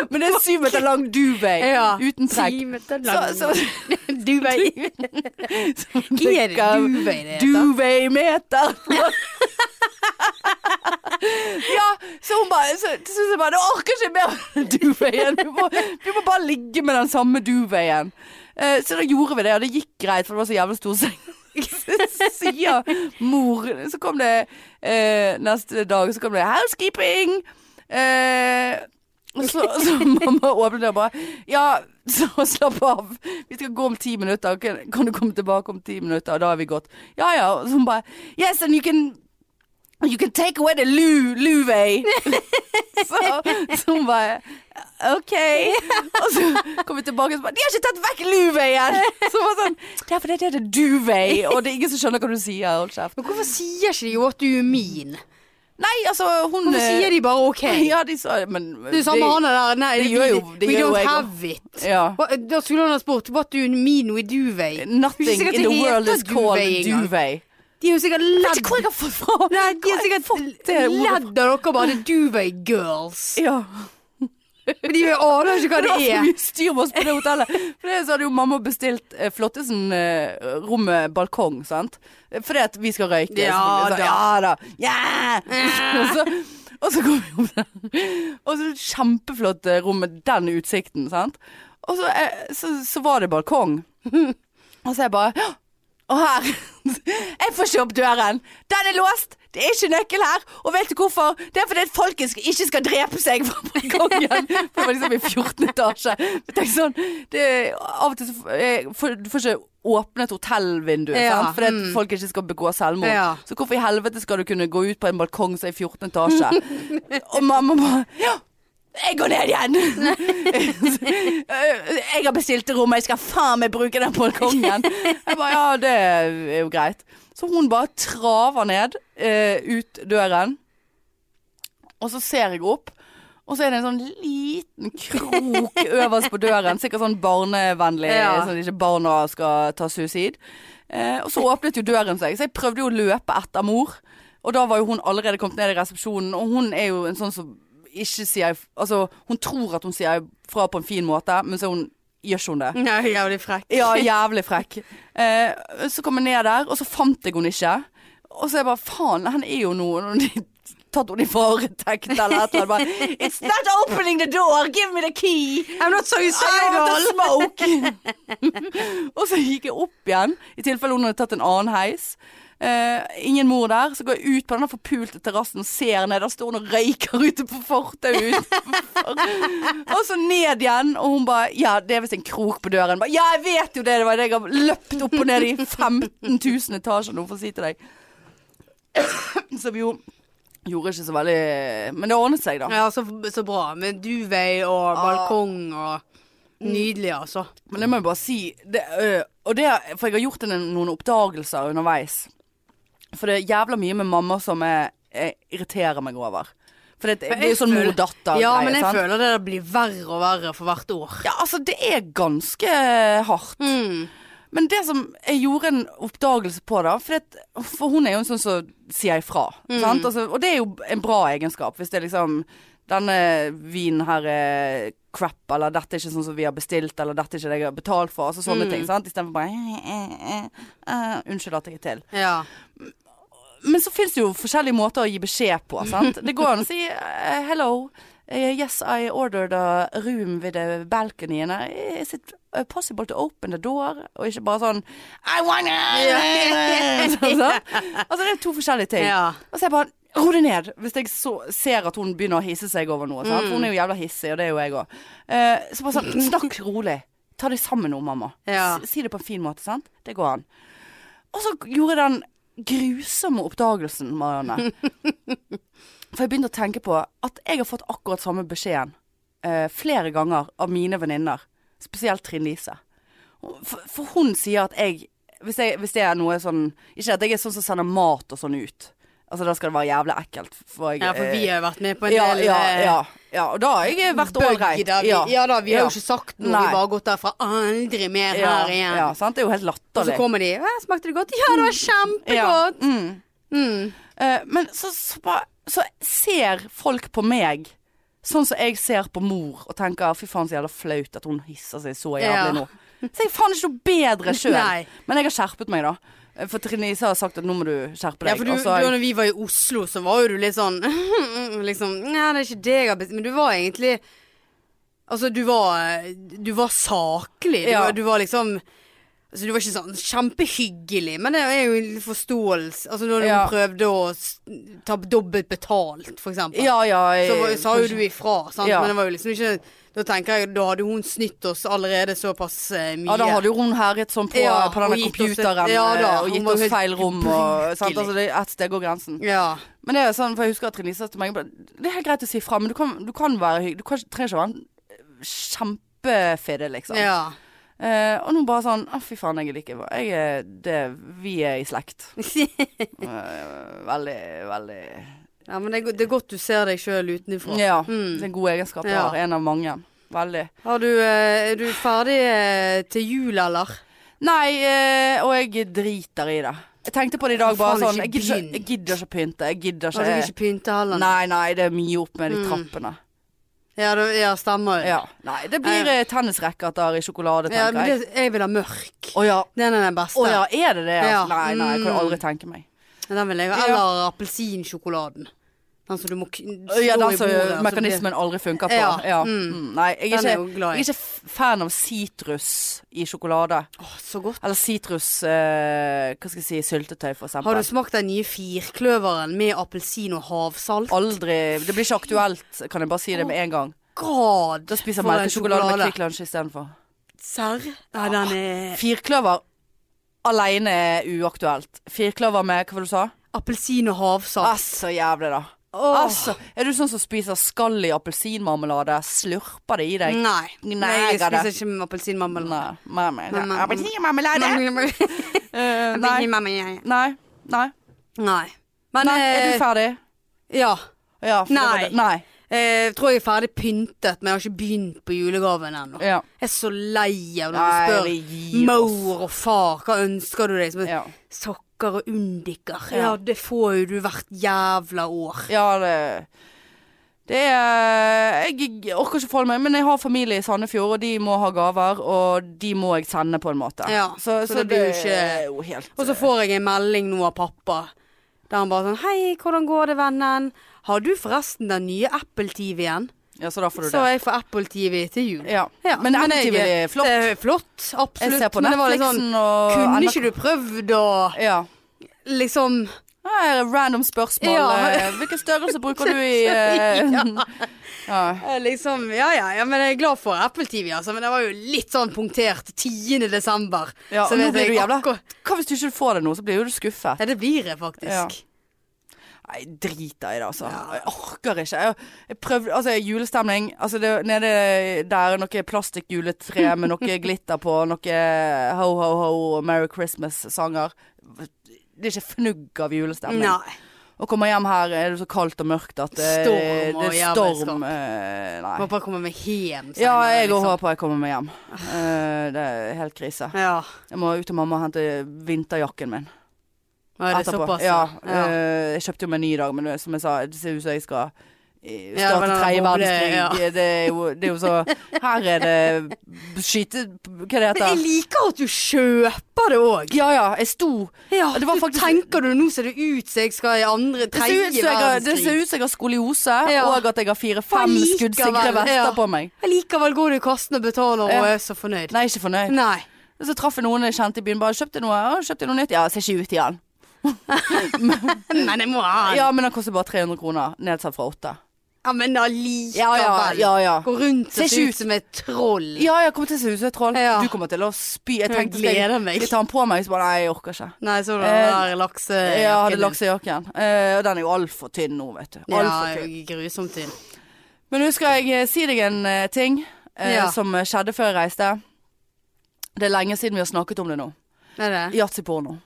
A: men det er syv meter lang duvet
B: Ja.
A: uten trekk.
B: Syv meter
A: Så,
B: lang.
A: så,
B: (laughs) Duvet. Er det duvet det heter?
A: Duveimeter. (laughs) ja, så hun bare Så så synes jeg bare Du orker ikke mer duveien. Du må, du må bare ligge med den samme duveien. Eh, så da gjorde vi det, og det gikk greit, for det var så jævlig stor seng. (laughs) Så Sier mor Så kom det eh, neste dag, så kom det 'housekeeping'. Eh, og så, så mamma åpnet døra og bare Ja, så slapp av. Vi skal gå om ti minutter. Kan, kan du komme tilbake om ti minutter? Og da er vi gått. Ja ja. Og så hun bare Yes, and you can You can take away the lu, luvei. (laughs) så, så hun bare OK. Og så kom vi tilbake og så bare De har ikke tatt vekk luveien! Så hun var sånn Det er fordi det heter duvei, og det er ingen som skjønner hva du sier. Hold kjeft.
B: Men hvorfor sier ikke de jo at du er min? eh,
A: Nei, altså, hun
B: Hvorfor sier de bare ok?
A: Ja, de sa Men
B: Det er jo samme han er der. Nei,
A: det
B: vi-
A: gjør jo- det
B: We
A: gjør jo jeg
B: don't
A: også.
B: have it.
A: Ja.
B: Hva- Da skulle han ha spurt What do you mean with duvet? Det er
A: Nothing in
B: sikkert
A: the
B: det heter
A: world is called
B: duvet engang.
A: duvet.
B: De er jo sikkert
A: Jeg vet
B: ledd
A: ikke hvor jeg har fått fra
B: Nei, de
A: hvor
B: er
A: jeg har fått
B: sikkert
A: det ordet fra.
B: ledd av dere bare duvet girls.
A: Ja.
B: Men de aner ikke hva
A: Det var
B: det
A: for
B: er.
A: mye styr med oss på det hotellet. For det så hadde jo mamma bestilt eh, Flottesen eh, rommet balkong, sant. Fordi at vi skal røyke.
B: Ja
A: selvfølgelig. Så,
B: da.
A: Ja da. Yeah! Og så, Og så kom vi opp der. Og så kjempeflott eh, rom med den utsikten, sant. Og så, eh, så, så var det balkong. (laughs) Og så jeg bare «Hå! Og her (laughs) Jeg får ikke opp døren. Den er låst. Det er ikke nøkkel her. Og vet du hvorfor? Det er fordi at folket sk- ikke skal drepe seg fra balkongen. For det var liksom i 14. etasje. Men tenk sånn det, Av og til så f- eh, får du får ikke åpnet hotellvinduet,
B: Ja,
A: sant? fordi at
B: mm.
A: folk ikke skal begå selvmord.
B: Ja.
A: Så hvorfor i helvete skal du kunne gå ut på en balkong som er i 14.
B: (laughs)
A: etasje? Og mamma bare Ja! Jeg går ned igjen! Eh, jeg har bestilt rom, og jeg skal faen meg bruke den balkongen. Jeg bare, ja, det er jo greit. Så hun bare traver ned eh, ut døren, og så ser jeg opp. Og så er det en sånn liten krok (laughs) øverst på døren, sikkert sånn barnevennlig,
B: Ja.
A: sånn at ikke barna skal ta suicid. Eh, og så åpnet jo døren seg, så jeg prøvde jo å løpe etter mor. Og da var jo hun allerede kommet ned i resepsjonen, og hun er jo en sånn som ikke sier Altså, hun tror at hun sier fra på en fin måte, men så er hun, gjør ikke hun det.
B: Ja, jævlig frekk.
A: Ja, jævlig frekk. Eh, så kom jeg ned der, og så fant jeg henne ikke. Og så er jeg bare faen, han er jo noe noe de- Tatt henne i varetekt eller et eller annet. Bare, It's not opening the door, give me the key!
B: I'm not
A: I
B: suicidal!
A: want to smoke! (laughs) og så gikk jeg opp igjen, i tilfelle hun hadde tatt en annen heis. Eh, ingen mor der. Så går jeg ut på den der forpulte terrassen og ser ned. Der står hun og røyker ute på fortauet. utenfor. og så ned igjen, og hun bare Ja, det er visst en krok på døren. Ba, ja, jeg vet jo det! Det var det jeg har løpt opp og ned i 15 000 etasjer nå, for å si til deg. (coughs) Som jo gjorde ikke så veldig Men det ordnet seg, da.
B: Ja, så, så bra. Med duvet og balkong og Nydelig, altså.
A: Men det må jeg bare si det, øh, og det, For jeg har gjort en, noen oppdagelser underveis For det er jævla mye med mamma som jeg, jeg irriterer meg over For det, det er jo sånn
B: Jeg føler-
A: mor-datter
B: Ja, men jeg føler det der blir verre og verre for hvert år.
A: Ja, altså det er ganske hardt
B: Mm.
A: Men det som jeg gjorde en oppdagelse på da For, det, for hun er jo en sånn som sier ifra sant? Altså, Og det er jo en bra egenskap Hvis det er liksom Denne vinen her er crap Eller dette er ikke sånn som vi har bestilt Eller dette er ikke det jeg har betalt for Altså sånne ting, sant? I stedet for bare eh, eh, eh, eh, Unnskyld at jeg er til
B: Ja.
A: men så fins det jo forskjellige måter å gi beskjed på, sant. Det går an å si eh, hello. eh, yes, I ordered a room with a balcony. And I- is it eh, possible to open the door? Og ikke bare sånn I wanna (laughs) sånn, sant? Altså det er to forskjellige ting.
B: Ja.
A: Og så er jeg bare Ro deg ned, hvis jeg så, ser at hun begynner å hisse seg over noe. Sant? For hun er jo jævla hissig, og det er jo jeg òg. så bare sånn Snakk rolig. Ta deg sammen nå, mamma.
B: Ja.
A: Si, si det på en fin måte, sant. Det går an. Og så gjorde jeg den grusomme oppdagelsen, Marianne. For jeg begynte å tenke på at jeg har fått akkurat samme beskjeden eh, flere ganger av mine venninner. Spesielt Trine Lise. For, for hun sier at jeg hvis, jeg hvis det er noe sånn Ikke at jeg er sånn som sender mat og sånn ut. Altså Da skal det være jævlig ekkelt. For, jeg,
B: ja, for vi
A: eh,
B: har jo vært med på en
A: ja,
B: del
A: ja,
B: eh,
A: ja, ja. Og da har jeg vært ålreit.
B: bøgg der. Vi, ja. da, vi
A: Ja.
B: har jo ikke sagt noe.
A: Nei.
B: Vi bare har gått derfra. Aldri mer
A: ja,
B: her igjen.
A: ja, sant? Det er jo helt
B: Og så
A: latterlig.
B: kommer de. Hæ, smakte det godt? Ja, det var kjempegodt.
A: Mm.
B: Mm.
A: Eh, men så, så, bare, så ser folk på meg sånn som jeg ser på mor og tenker «Ah, fy faen så jævla flaut at hun hisser seg så jævlig
B: Ja.
A: nå. Så jeg er faen ikke noe bedre sjøl.
B: Nei.
A: Men jeg har skjerpet meg, da. Eh, For Trine Lise har sagt at nå må du skjerpe deg.
B: Ja, for du,
A: Og
B: du,
A: så har altså, jeg-
B: når vi var i Oslo, så var jo du litt sånn (laughs) liksom, Nei, det er ikke det jeg har bestilt. Men du var egentlig Altså, du var Du var saklig. Du,
A: Ja.
B: var- du var liksom Altså, du var ikke sånn kjempehyggelig, men det er jo en forståelse. Altså, når
A: Ja.
B: hun prøvde å s- ta dobbelt betalt, for eksempel.
A: ja, ja, jeg,
B: Så var- sa jo du ifra, sant?
A: Eh, Ja.
B: men det var jo liksom ikke Da tenker jeg, da hadde hun snytt oss allerede såpass eh, mye.
A: Ja, da hadde jo hun herjet sånn på,
B: Ja,
A: på denne
B: og gitt oss et-
A: computeren
B: ja da,
A: eh, og
B: hun
A: gitt
B: var
A: oss
B: helt
A: feil rom og sant?
B: ubrukelig.
A: Altså, det er ett sted går grensen.
B: Ja.
A: Men det er jo sånn, for jeg husker at Trine Lise sa til meg bare, Det er helt greit å si fra, men du kan, du kan være hyggelig. Du kan, ikke- trenger ikke å være en kjempefidde, liksom.
B: ja. (laughs)
A: Eh, og nå bare sånn Å, fy faen, jeg er like bra. Jeg er det Vi er i slekt. Eh, veldig, veldig
B: ja men det, er go- det er godt du ser deg sjøl utenfra.
A: Ja.
B: Mm.
A: Det er en god egenskap jeg
B: Ja.
A: har. En av mange. Veldig.
B: Har du, eh, er du ferdig eh, til jul, eller?
A: Nei, eh, og jeg driter i det. Jeg tenkte på det i dag, bare
B: Faen,
A: sånn
B: ikke
A: Jeg gidder ikke,
B: begynn.
A: jeg gidder ikke pynte. Jeg gidder
B: Har du ikke
A: ikke
B: pynte heller?
A: Nei, nei, det er mye opp med de
B: Mm.
A: trappene.
B: Ja, du, ja stemmer.
A: Ja. Nei, det blir
B: Nei.
A: eh, tennisracketer i sjokolade,
B: Ja,
A: tenker
B: men
A: jeg.
B: det, jeg vil ha mørk.
A: Å ja.
B: Den er den beste.
A: Å ja, er det det?
B: Ja.
A: Nei, nei, jeg kan
B: Mm.
A: aldri tenke meg.
B: Den vil jeg ha.
A: Ja.
B: Eller appelsinsjokoladen. Den som du må k- slå
A: Ja, den
B: i
A: som
B: bordet. altså, og så
A: mekanismen aldri funker på.
B: Ja,
A: Ja.
B: mm.
A: Mm. Nei, jeg
B: blir-
A: er,
B: Den
A: ikke,
B: er jo glad
A: jeg
B: i.
A: er ikke f- fan av sitrus i sjokolade.
B: Åh, så godt.
A: Eller sitrus eh, Hva skal jeg si, syltetøy, for
B: Har du
A: eksempel.
B: smakt den nye firkløveren med appelsin og havsalt?
A: Aldri Det blir ikke aktuelt, kan jeg bare si det med en gang.
B: Grad!
A: Da spiser jeg
B: for en
A: melkesjokolade med
B: sjokolade.
A: Kvikk Lunsj istedenfor.
B: Serr?
A: Ah.
B: Nei, den er
A: Firkløver alene er uaktuelt. Firkløver med Hva var det du sa?
B: Appelsin og havsalt.
A: Altså, jævlig, da.
B: Åh.
A: Altså, er du sånn som spiser skall i appelsinmarmelade? Slurper det i deg?
B: Nei. Nei, jeg
A: Gnager det.
B: spiser ikke med appelsinmarmelade.
A: Nei. Nei, nei, nei.
B: Men-
A: Appelsinmarmelade?
B: (laughs)
A: Eh, Nei.
B: Nei.
A: Nei. Nei.
B: Nei. Men
A: Nei, Er
B: eh,
A: du ferdig?
B: ja.
A: Ja, for det var
B: Nei.
A: det. Nei.
B: Jeg tror jeg er ferdig pyntet, men jeg har ikke begynt på julegaven ennå.
A: Ja.
B: Jeg er så lei av
A: Nei,
B: når
A: vi gir
B: du spør
A: oss.
B: mor og far hva ønsker du deg. Som,
A: Ja.
B: Sokker og undiker.
A: Ja.
B: Ja. det får jo du hvert jævla år.
A: ja, det det er Jeg orker ikke forholde meg, men jeg har familie i Sandefjord, og de må ha gaver, og de må jeg sende, på en måte.
B: Ja, så det blir jo
A: er
B: ikke-
A: jo helt
B: Og så får jeg en melding nå av pappa. Der han bare sånn Hei, hvordan går det, vennen? Har du forresten den nye Apple-TV-en?
A: Ja, så da får du
B: Så
A: det.
B: jeg får Apple-TV til jul.
A: Ja.
B: Ja,
A: Men
B: men
A: Apple
B: jeg-
A: TV er flott.
B: Det er flott, absolutt.
A: Jeg ser på
B: men det var litt
A: Netflixen
B: sånn
A: og
B: Kunne
A: NRK
B: ikke du prøvd å
A: Ja.
B: liksom
A: Her er random spørsmål.
B: Ja.
A: eh, Hvilken størrelse bruker du
B: (laughs)
A: i eh, ja.
B: Eh, Liksom, ja, ja, ja, men jeg er glad for Apple TV, altså. Men det var jo litt sånn punktert 10. desember.
A: Ja, og nå blir du jævla-
B: akkur-
A: Hva hvis du ikke får det nå, så blir jo du skuffet.
B: Ja, det blir jeg faktisk.
A: Ja. Nei, drit deg i det, altså. Jeg orker ikke. Jeg, jeg prøvde Altså, julestemning altså det, Nede der er noe plastikkjuletre med
B: (laughs)
A: noe glitter på, noe ho, ho, ho, Merry Christmas-sanger. Det er ikke fnugg av julestemning.
B: Nei.
A: Og kommer hjem her, er det så kaldt og mørkt at det,
B: Storm og
A: det er
B: jævelskap.
A: storm. eh,
B: Må
A: Nei.
B: bare komme meg hjem.
A: Ja,
B: senere,
A: jeg òg
B: liksom.
A: håper jeg kommer meg hjem. Eh, det er helt krise.
B: Ja.
A: Jeg må ut til mamma og hente vinterjakken min
B: Nå er det såpass.
A: Ja,
B: ja.
A: eh, jeg kjøpte jo meg en ny i dag, men det, som jeg sa, det ser ut som jeg skal eh,
B: Ja,
A: starte
B: men den
A: tredje
B: boble,
A: verdenskrig. Det, er jo, det er jo
B: (laughs)
A: så Her er det skyte... Hva det
B: Men jeg
A: heter
B: liker at du kjøper det òg.
A: Ja ja, jeg sto
B: Ja,
A: Det var
B: du
A: faktisk-
B: Tenker du nå ser det ut som jeg skal i andre,
A: Det ser
B: tredje
A: ut som jeg har, det ser
B: verdenskrig?
A: ut som jeg har skoliose,
B: Ja.
A: og at jeg har fire-fem
B: Allikevel,
A: skuddsikre vester
B: ja.
A: på meg.
B: Men Likevel går du i kassen og betaler og
A: Ja.
B: er så fornøyd.
A: Nei, ikke fornøyd.
B: Nei.
A: Og Så traff jeg noen jeg kjente i byen. Bare 'Kjøpte noe, ja, kjøpte noe nytt?' Ja, ser ikke ut igjen.
B: Men jeg må ha den.
A: Ja, men den koster bare 300 kroner. Nedsatt fra 8.
B: Ja, men allikevel.
A: Ja, ja, ja, ja.
B: Gå rundt
A: Ser
B: og se
A: ikke
B: ut som et troll.
A: Ja, jeg kommer til å se ut som et troll.
B: Ja.
A: Du kommer til å spy. Jeg
B: Jeg
A: tenkte
B: gleder
A: skal
B: meg.
A: jeg, skal jeg ta den på meg, så bare Nei, jeg orker ikke.
B: Nei, så du den
A: Eh,
B: der laksejakken
A: Jeg hadde
B: din?
A: laksejakken. Eh, Og den er jo altfor tynn nå, vet du.
B: Ja,
A: Alt for tynn.
B: grusomt tynn.
A: Men nå skal jeg eh, si deg en eh, ting eh,
B: Ja.
A: som eh, skjedde før jeg reiste. Det er lenge siden vi har snakket om det nå.
B: Er det?
A: Yatzy-porno.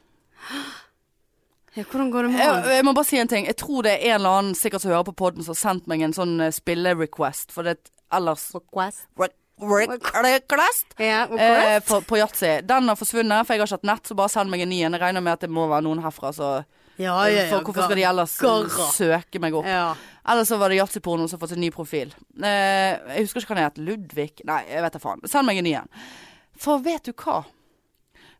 B: Ja, hvordan går det med
A: Jeg,
B: han?
A: jeg må bare si en ting. Jeg tror det er en eller annen sikkert som hører på podden som har sendt meg en sånn eh, spillerequest, for det ellers Re- Request?
B: Ja, og
A: Eh,
B: korrekt?
A: på, på Yatzy. Den har forsvunnet, for jeg har ikke hatt nett, så bare send meg en ny en. Jeg regner med at det må være noen herfra, så
B: ja, ja, ja.
A: for hvorfor skal de ellers
B: Garra.
A: søke meg opp?
B: Ja.
A: Ellers så var det Yatzy-porno som har fått en ny profil. Eh, jeg husker ikke hva den het. Ludvig? Nei, jeg vet da faen. Send meg en ny en. For vet du hva?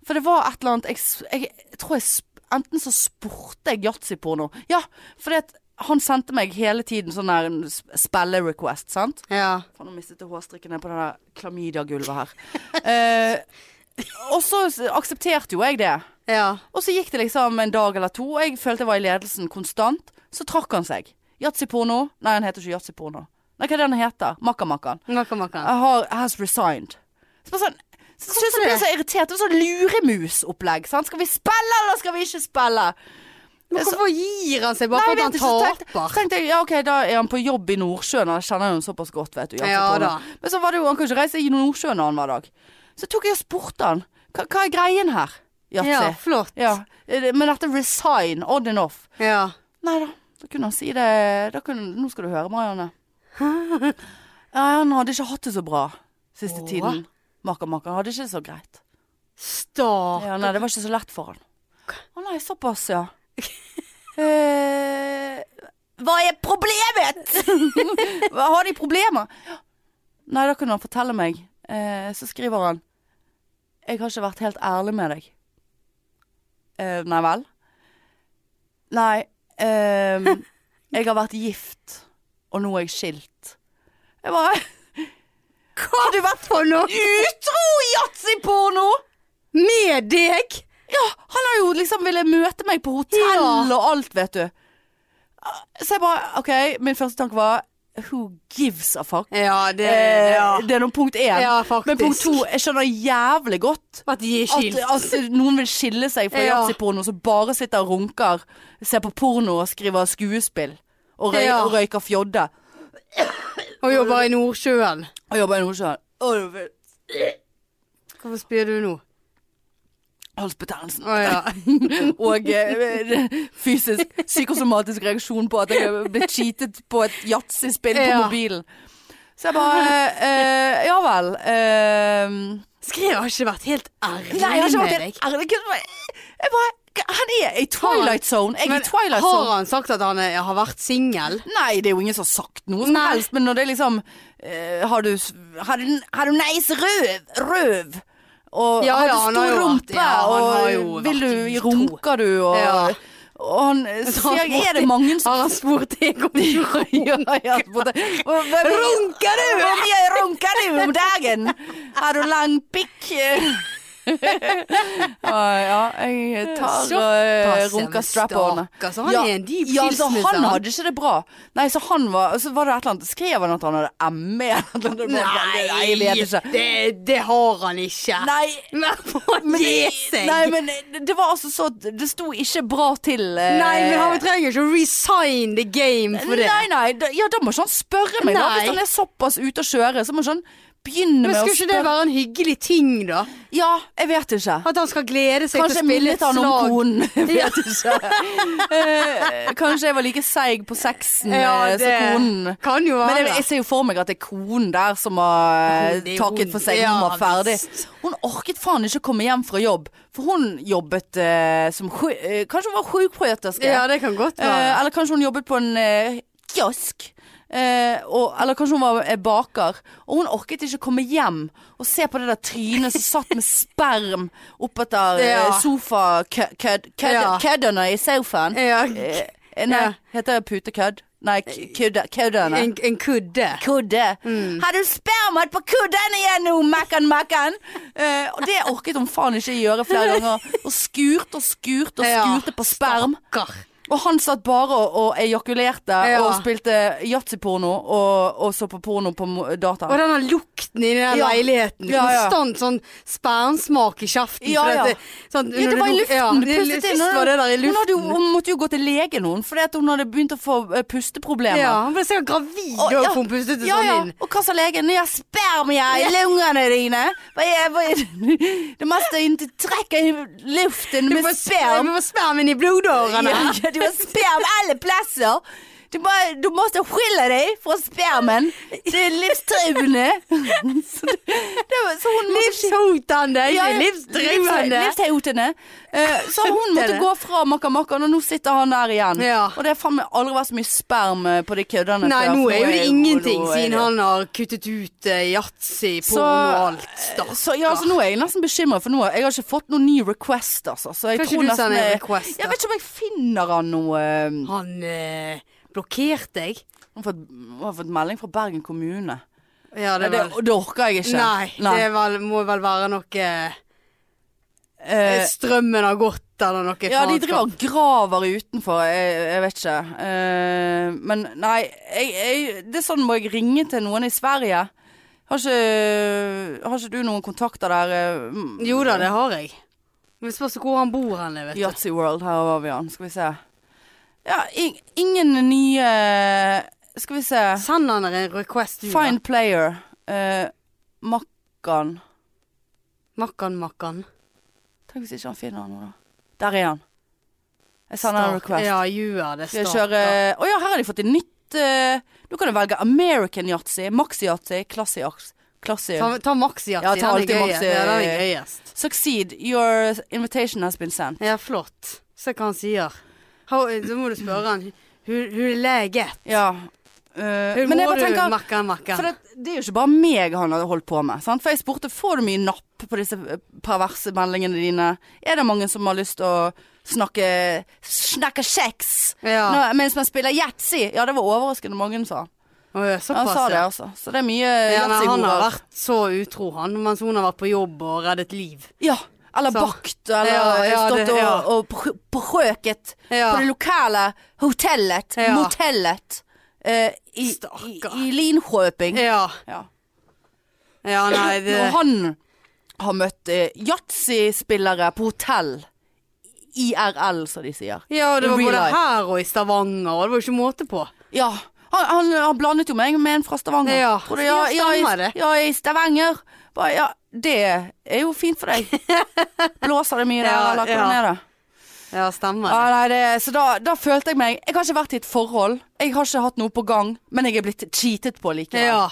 A: For det var et eller annet Jeg, s- jeg, jeg tror jeg sp- Enten så spurte jeg Yatzy-porno. Ja, fordi at han sendte meg hele tiden sånn der sp- spelle-request, sant?
B: ja.
A: Faen, nå mistet jeg hårstrikken ned på det der klamydia-gulvet her. (laughs) Eh, og så s- aksepterte jo jeg det.
B: Ja.
A: Og så gikk det liksom en dag eller to, og jeg følte jeg var i ledelsen konstant. Så trakk han seg. Yatzy-porno. Nei, han heter ikke Yatzy-porno. Nei, hva er det han heter? Makka-makkan.
B: Makka, makka.
A: Jeg har has resigned. Så bare sånn så synes jeg ble så irritert. Det var sånn luremus-opplegg. sant? Skal vi spille, eller skal vi ikke spille?
B: Men hvorfor gir han seg bare
A: Nei, jeg
B: for at
A: vet
B: han
A: ikke, så tenkte-
B: taper?
A: tenkte jeg, ja ok, da er han på jobb i Nordsjøen, han kjenner jo henne såpass godt, vet du. Jansen
B: Ja,
A: Tone.
B: da.
A: Men så var det jo, han kan ikke reise i Nordsjøen annenhver dag. Så tok jeg og spurte han, hva, hva er greien her, Yatzy?
B: Ja,
A: Ja.
B: flott.
A: er det- Men dette resign, on and off.
B: Ja.
A: Nei da, da kunne han si det, da kunne, nå skal du høre,
B: (laughs)
A: Marianne. Ja, han hadde ikke hatt det så bra siste
B: Åh.
A: tiden. Makker, makker, han hadde ikke det så greit.
B: Stakkar.
A: Ja, nei, det var ikke så lett for han. Å nei, såpass, ja. (laughs) eh, hva er problemet? (laughs) hva har de problemer? Nei, da kunne han fortelle meg. Eh, så skriver han Jeg har ikke vært helt ærlig med deg. (laughs) Eh, nei vel? Nei ehm, Jeg har vært gift, og nå er jeg skilt. Jeg bare
B: Hva har du vært for noe?
A: Utro yatzyporno!
B: Med deg?
A: Ja, han har jo liksom ville møte meg på hotell
B: Ja.
A: og alt, vet du. Så jeg bare OK, min første tanke var Who gives a fuck?
B: Ja, det
A: Eh,
B: ja.
A: Det er nå punkt én.
B: Ja, faktisk.
A: Men punkt to, jeg skjønner jævlig godt
B: Vært gi-
A: at,
B: skilt.
A: at noen vil skille seg fra
B: Ja.
A: yatzyporno som bare sitter og runker, ser på porno og skriver skuespill. Og, røy,
B: Ja.
A: og røyker fjodde.
B: Og jobber i Nordsjøen.
A: Og jobber i Nordsjøen. Å,
B: Hvorfor spyr du nå?
A: Halsbetennelsen.
B: Å
A: (laughs)
B: ja.
A: Og eh, fysisk, psykosomatisk reaksjon på at jeg er blitt cheatet på et yatzyspill på
B: Ja.
A: mobilen. Så jeg bare eh, Ja vel. eh,
B: Skrev har ikke vært helt ærlig
A: nei, jeg har ikke vært
B: med
A: helt
B: deg.
A: ærlig. Jeg bare Han er i Twilight Zone. Jeg er
B: Men
A: i Twilight
B: har
A: Zone.
B: han sagt at han er, har vært singel?
A: Nei, det er jo ingen som har sagt noe som
B: Nei.
A: helst, men når det er liksom eh, Har du, s- har du, har du nice røv? Røv? Og
B: Ja,
A: har du
B: ja, han har
A: stor
B: jo vært-
A: rumpe?
B: ja, han har jo
A: og
B: vært
A: vil du
B: utro.
A: Runker du? Og,
B: Ja.
A: og han (laughs) eh,
B: Så han
A: sier
B: spurte-
A: Er det mange som
B: Har han spurt deg om du
A: ja, ja, både, Runker du? Hvor mye runker du om dagen? Har du lang pikk? ja, ja, jeg tar og eh,
B: Såpass, ja, men
A: runker strap-on.
B: stakkar, så han er en dyp
A: ja, så
B: skilsmisse,
A: han
B: han.
A: hadde ikke det bra. Nei, så han var Så var det et eller annet Skrev han at han hadde ME? eller noe? nei, jeg vet ikke.
B: Det, det har han ikke.
A: (laughs) Nei,
B: Men få
A: men,
B: gi seg!
A: nei, men det var altså så Det sto ikke bra til. eh,
B: Nei, men han trenger ikke å resign the game for det.
A: Nei, nei, da, ja, da må ikke han spørre meg. Da.
B: Nei.
A: Hvis han er såpass ute å kjøre, så må ikke han begynne
B: Men
A: med å
B: skulle ikke det
A: spørre.
B: være en hyggelig ting, da?
A: Ja, jeg vet ikke.
B: At han skal glede seg
A: Kanskje jeg
B: til å spille
A: minnet
B: et
A: han om
B: slag?
A: konen. (laughs) Jeg
B: Ja.
A: vet ikke. Eh, Kanskje jeg var like seig på sexen eh,
B: Ja,
A: som konen.
B: det kan jo
A: Men
B: være.
A: jeg, jeg ser jo for meg at det er konen der som har
B: Det er jo
A: takket for seg.
B: hun.
A: Hun
B: Ja,
A: var ferdig.
B: visst.
A: Hun orket faen ikke å komme hjem fra jobb, for hun jobbet eh, som sju- eh, Kanskje hun var sjukprøterske.
B: Ja, det kan godt være.
A: Eh, eller kanskje hun jobbet på en eh, kiosk. Eh, og, eller kanskje hun var eh, baker. Og hun orket ikke komme hjem og se på det der trynet som satt med sperm oppetter eh, ja.
B: Ja. Ja.
A: sofakøddene i sofaen.
B: ja,
A: Eh, nei,
B: Ja.
A: heter det putekødd? Nei, k- kødde- køddene.
B: en, Mm. en kudde.
A: Kudde. Har du spermat på kudden igjen nå, Mackan Mackan? Eh, og det orket hun faen ikke gjøre flere ganger. Og skurt og skurt og
B: Ja.
A: skurte på sperm.
B: Kar.
A: Og han satt bare og, og ejakulerte
B: Ja.
A: og spilte yatzyporno og, og så på porno på mo- data.
B: Og denne lukten i den der
A: Ja.
B: leiligheten.
A: Ja, ja.
B: Konstant sånn spermsmak i kjeften.
A: Ja,
B: for at
A: ja.
B: det- sånn,
A: Ja, det
B: når
A: var i
B: du-
A: luften.
B: Ja,
A: du
B: det-
A: pustet inn.
B: Sist var det der i
A: Hun, hadde jo,
B: luften.
A: hun måtte jo gå til legen hun, fordi at hun hadde begynt å få eh, pusteproblemer.
B: Ja, hun ble sikkert gravid
A: Og-
B: og,
A: ja.
B: hun pustet det
A: ja,
B: sånn
A: ja.
B: inn.
A: Og hva sa legen? Ja, spermia i lungene dine. Hva er, hva er, det (laughs) meste inte trekker i luften
B: Du
A: med
B: får
A: sperm.
B: sperm. Du får spermen i blodårene.
A: Ja, ja, du har sperm alle plasser. Du, bare, du måtte skille deg fra spermen. Det er livstruende. Så, det, det, var- så hun måtte
B: (laughs) Livshotende,
A: ja, ja,
B: ikke livsdrivende.
A: livs- livshotende. Eh, så hun
B: Det
A: måtte
B: er det.
A: gå fra makka-makkaen, og nå sitter han der igjen.
B: Ja.
A: Og det har faen meg aldri vært så mye sperm eh, på de køddene.
B: Nei,
A: før,
B: nå
A: for
B: er jo det ingenting
A: nå er
B: siden
A: det-
B: han har kuttet ut eh, yatzy,
A: Så-
B: porno og alt. Stakkar.
A: så, ja, så nå er jeg nesten bekymret, for nå har jeg har ikke fått noen ny request, altså. Så jeg
B: Kan ikke
A: tror
B: du
A: nesten
B: sende en
A: jeg-
B: request, da?
A: Jeg vet ikke om jeg finner han noe eh,
B: Han eh, blokkerte deg.
A: Hun har fått, hun har fått melding fra Bergen kommune.
B: Ja, det
A: Det,
B: var
A: det orker jeg ikke.
B: Nei, det er vel, må vel være noe
A: Eh,
B: Strømmen har gått eller noe
A: ja, de
B: faenskap.
A: driver og graver utenfor. Jeg, jeg vet ikke. Eh, men nei, jeg, jeg, det er sånn må jeg ringe til noen i Sverige. Har ikke, har ikke du noen kontakter der? eh,
B: Jo da, det har jeg. Men det spørs hvor han bor hen, vet du.
A: Yatzy World, her var vi han. Skal vi se. Ja, ing- ingen nye Skal vi se.
B: Send han en request, du. da.
A: Fine player. Eh, Makkan.
B: Makkan, makkan.
A: Tenk hvis ikke han finner noe, da. Der er han. Jeg sender en
B: Stakkar.
A: request.
B: Ja, gjør det.
A: Skal jeg
B: stakkar.
A: kjøre Å ja, her har de fått et nytt eh, Du kan jo velge American Yatzy, Maxi Yatzy, Classy Yatzy. Classy.
B: Ta, ta maxi-jazzy.
A: Ja, ta
B: den er
A: alltid eh,
B: gøy.
A: maxi-
B: Ja, den er gøyest.
A: Succeed, your invitation has been sent.
B: Ja, flott. eh, Se hva han sier. How, da må du spørre han. Who, who leg it?
A: Ja. Eh,
B: Hun
A: men jeg
B: må
A: bare
B: du
A: tenker
B: makke, makke.
A: For det, det er jo ikke bare meg han har holdt på med. Sant? For jeg spurte får du mye napp på disse eh, perverse meldingene dine. Er det mange som har lyst til å snakke snakke sex
B: Ja.
A: Nå, mens man spiller yatzy? Ja, det var overraskende mange, sa han.
B: Å, ja,
A: Han
B: såpass,
A: sa det,
B: ja.
A: altså. Så det er mye
B: Ja, nei, han har
A: yatzy-horer.
B: vært så utro, han, mens hun har vært på jobb og reddet liv.
A: Ja. Eller
B: Så.
A: bakt, eller
B: Ja, ja,
A: stått
B: det- ja.
A: og, og prø- brøket
B: Ja.
A: på det lokale hotellet,
B: Ja.
A: motellet, eh, i, i,
B: Stakkar.
A: i Linköping.
B: Ja, Eh.
A: Ja.
B: ja nei, det
A: Når han har møtt eh, yatzy-spillere på hotell, IRL som de sier.
B: Ja, det var
A: Real
B: både
A: life. her
B: her og i Stavanger, og det var jo ikke måte på.
A: Ja. Han, han, han blandet jo meg med en fra Stavanger.
B: Ja,
A: Tror du, ja,
B: ja,
A: ja,
B: stemmer
A: i,
B: det.
A: ja i Stavanger. Bare, ja, det er jo fint for
B: (laughs)
A: deg. Blåser det mye der,
B: Ja,
A: eller hvordan
B: ja.
A: er det?
B: Ja, stemmer
A: Ja,
B: det.
A: nei, det, så da, da følte jeg meg Jeg har ikke vært i et forhold. Jeg har ikke hatt noe på gang, men jeg er blitt cheatet på likevel.
B: Ja.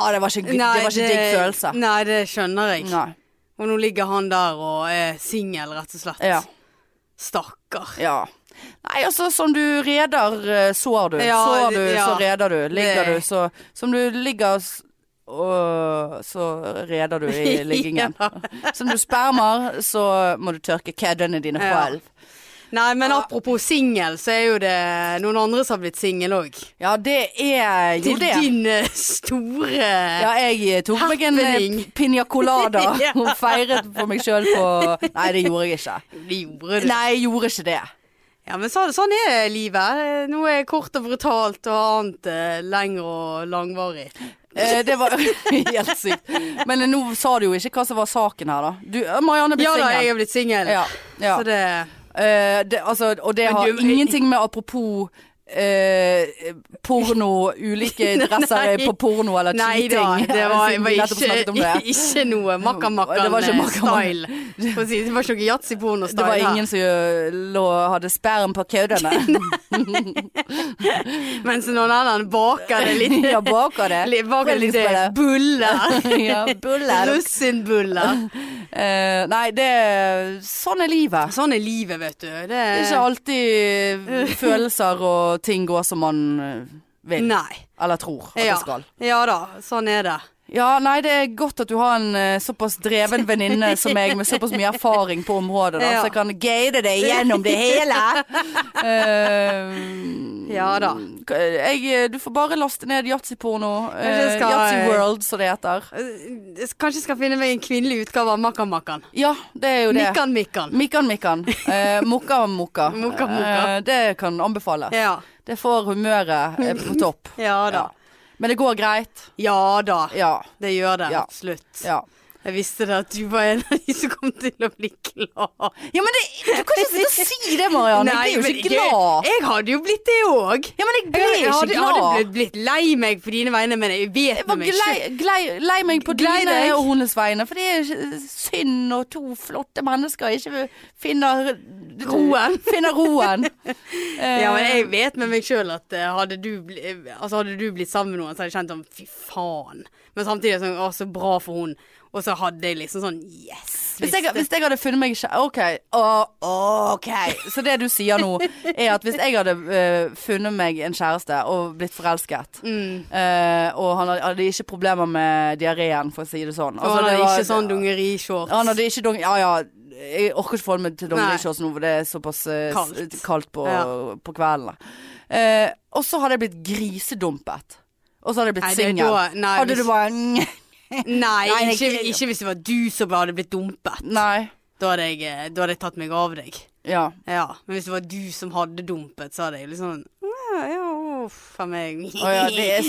A: Ah, det var ikke,
B: Nei,
A: det var ikke digg følelse.
B: Nei, det skjønner jeg.
A: Nei.
B: Og nå ligger han der og er singel, rett og slett.
A: Ja.
B: Stakkar.
A: ja. Nei, altså som du reder, eh, sår du.
B: Ja,
A: sår du,
B: det- ja.
A: så reder du. Ligger
B: Det-
A: du, så Som du ligger s- og så reder du i liggingen.
B: (laughs) Ja.
A: Som du spermer, så må du tørke køddene dine
B: Ja.
A: selv.
B: Nei, men apropos singel, så er jo det noen andre som har blitt singel òg.
A: Ja, det er jo
B: Til
A: det.
B: din eh, store
A: Ja, jeg eh, tok meg en
B: Happening.
A: piña colada
B: (laughs) Ja.
A: og feiret for meg sjøl på Nei, det gjorde jeg ikke.
B: Det gjorde du.
A: Nei, jeg gjorde ikke det.
B: Ja, men så, sånn er livet. Noe er kort og brutalt, og annet eh, lengre og langvarig.
A: Eh, Det var (laughs) helt sykt. Men eh, nå sa du jo ikke hva som var saken her, da. Du, eh, Marianne ble
B: Ja da, jeg
A: singel.
B: er blitt singel.
A: Ja, ja.
B: Så det
A: Eh, det, altså, og det
B: Men
A: har
B: du-
A: ingenting med apropos eh, porno, ulike dresser
B: (laughs) Nei.
A: på porno eller
B: Nei da,
A: cheating.
B: det var,
A: siden vi
B: var
A: nettopp snakket
B: ikke,
A: om det.
B: (laughs) ikke noe
A: Det var ikke
B: makkamakkan-style.
A: makkamakkan.
B: Det var ikke noe
A: Det var
B: yatzy-porno-style her.
A: ingen som eh, lå, hadde sperm på
B: (laughs)
A: køddene.
B: Mens noen annen baker det litt.
A: (laughs) Ja, baker det.
B: li- Baker
A: Veldig
B: litt eh,
A: spennende.
B: buller.
A: (laughs) ja, buller.
B: Russinbuller.
A: Eh, nei, det Sånn er livet.
B: Sånn er livet, vet du. Det
A: Det er ikke
B: (laughs)
A: alltid følelser og ting går som man eh, vil.
B: Nei.
A: Eller tror at
B: Ja.
A: det skal.
B: ja da, sånn er det.
A: Ja, nei, det er godt at du har en eh, såpass dreven venninne som meg, med såpass mye erfaring på området, da,
B: Ja.
A: så jeg kan guide deg gjennom det hele.
B: (laughs)
A: Eh,
B: Ja da.
A: Jeg, eh, du får bare laste ned yatzyporno.
B: det
A: Uh,
B: skal jeg.
A: Yatzyworld, som det heter.
B: Eh, Kanskje jeg skal finne meg en kvinnelig utgave av Makkan-makkan.
A: Ja, det er jo det.
B: Mikkan-mikkan.
A: Mikkan Mikkan. Eh, mokka Mokka.
B: Mokka Mokka.
A: Eh, det kan anbefales.
B: Ja.
A: Det får humøret eh, på topp.
B: ja da.
A: Ja. Men det går greit.
B: Ja da.
A: Ja.
B: Det gjør det.
A: Ja.
B: Absolutt. (laughs)
A: Ja,
B: Jeg visste det at du var en av de som kom til å bli glad.
A: ja men det, du kan ikke sitte og si det, Marianne. jeg blir
B: men
A: jo ikke glad.
B: Jeg, jeg hadde jo blitt det òg.
A: Ja, men jeg ble
B: jeg hadde,
A: ikke
B: jeg hadde
A: glad.
B: blitt, blitt lei meg på dine vegne, men jeg vet
A: Jeg var
B: med meg
A: glei,
B: selv.
A: glei, lei meg på
B: Glei
A: dine
B: deg.
A: og hennes vegne, for det er ikke- synd når to flotte mennesker ikke finner
B: Roen.
A: (laughs) Finner roen.
B: (laughs)
A: Eh,
B: Ja, men jeg vet med meg sjøl at eh, hadde du, bli, eh, altså, hadde du blitt sammen med noen, så hadde jeg kjent sånn fy faen. Men samtidig er det sånn å, så bra for hun. Og så hadde jeg liksom sånn yes.
A: Hvis jeg, hvis jeg hadde funnet meg kjæ- OK. Å, ok. Så det du sier nå, er at hvis jeg hadde eh, funnet meg en kjæreste og blitt forelsket,
B: Mm.
A: eh, og han hadde, hadde ikke problemer med diareen, for å si det sånn
B: og
A: Altså,
B: han
A: det
B: hadde
A: var-
B: ikke sånn dungerishorts.
A: Han hadde ikke dong... Ja ja. Jeg orker ikke forholde meg til
B: Nei.
A: dongerishorts nå, for det er såpass eh, s-
B: Kaldt.
A: kaldt på,
B: Ja.
A: på kvelden. Eh, og så hadde jeg blitt grisedumpet. Og så hadde jeg
B: Nei,
A: blitt
B: det er
A: singel.
B: da- nei,
A: Hadde
B: hvis-
A: du bare Nei.
B: Nei,
A: Nei,
B: ikke,
A: jeg-
B: ikke hvis det var du som hadde blitt dumpet. Da hadde jeg, eh, da hadde jeg tatt meg av deg.
A: Ja.
B: Ja, Men hvis det var du som hadde dumpet, så hadde jeg liksom Ja, ja, uff a meg.
A: Å ja, det er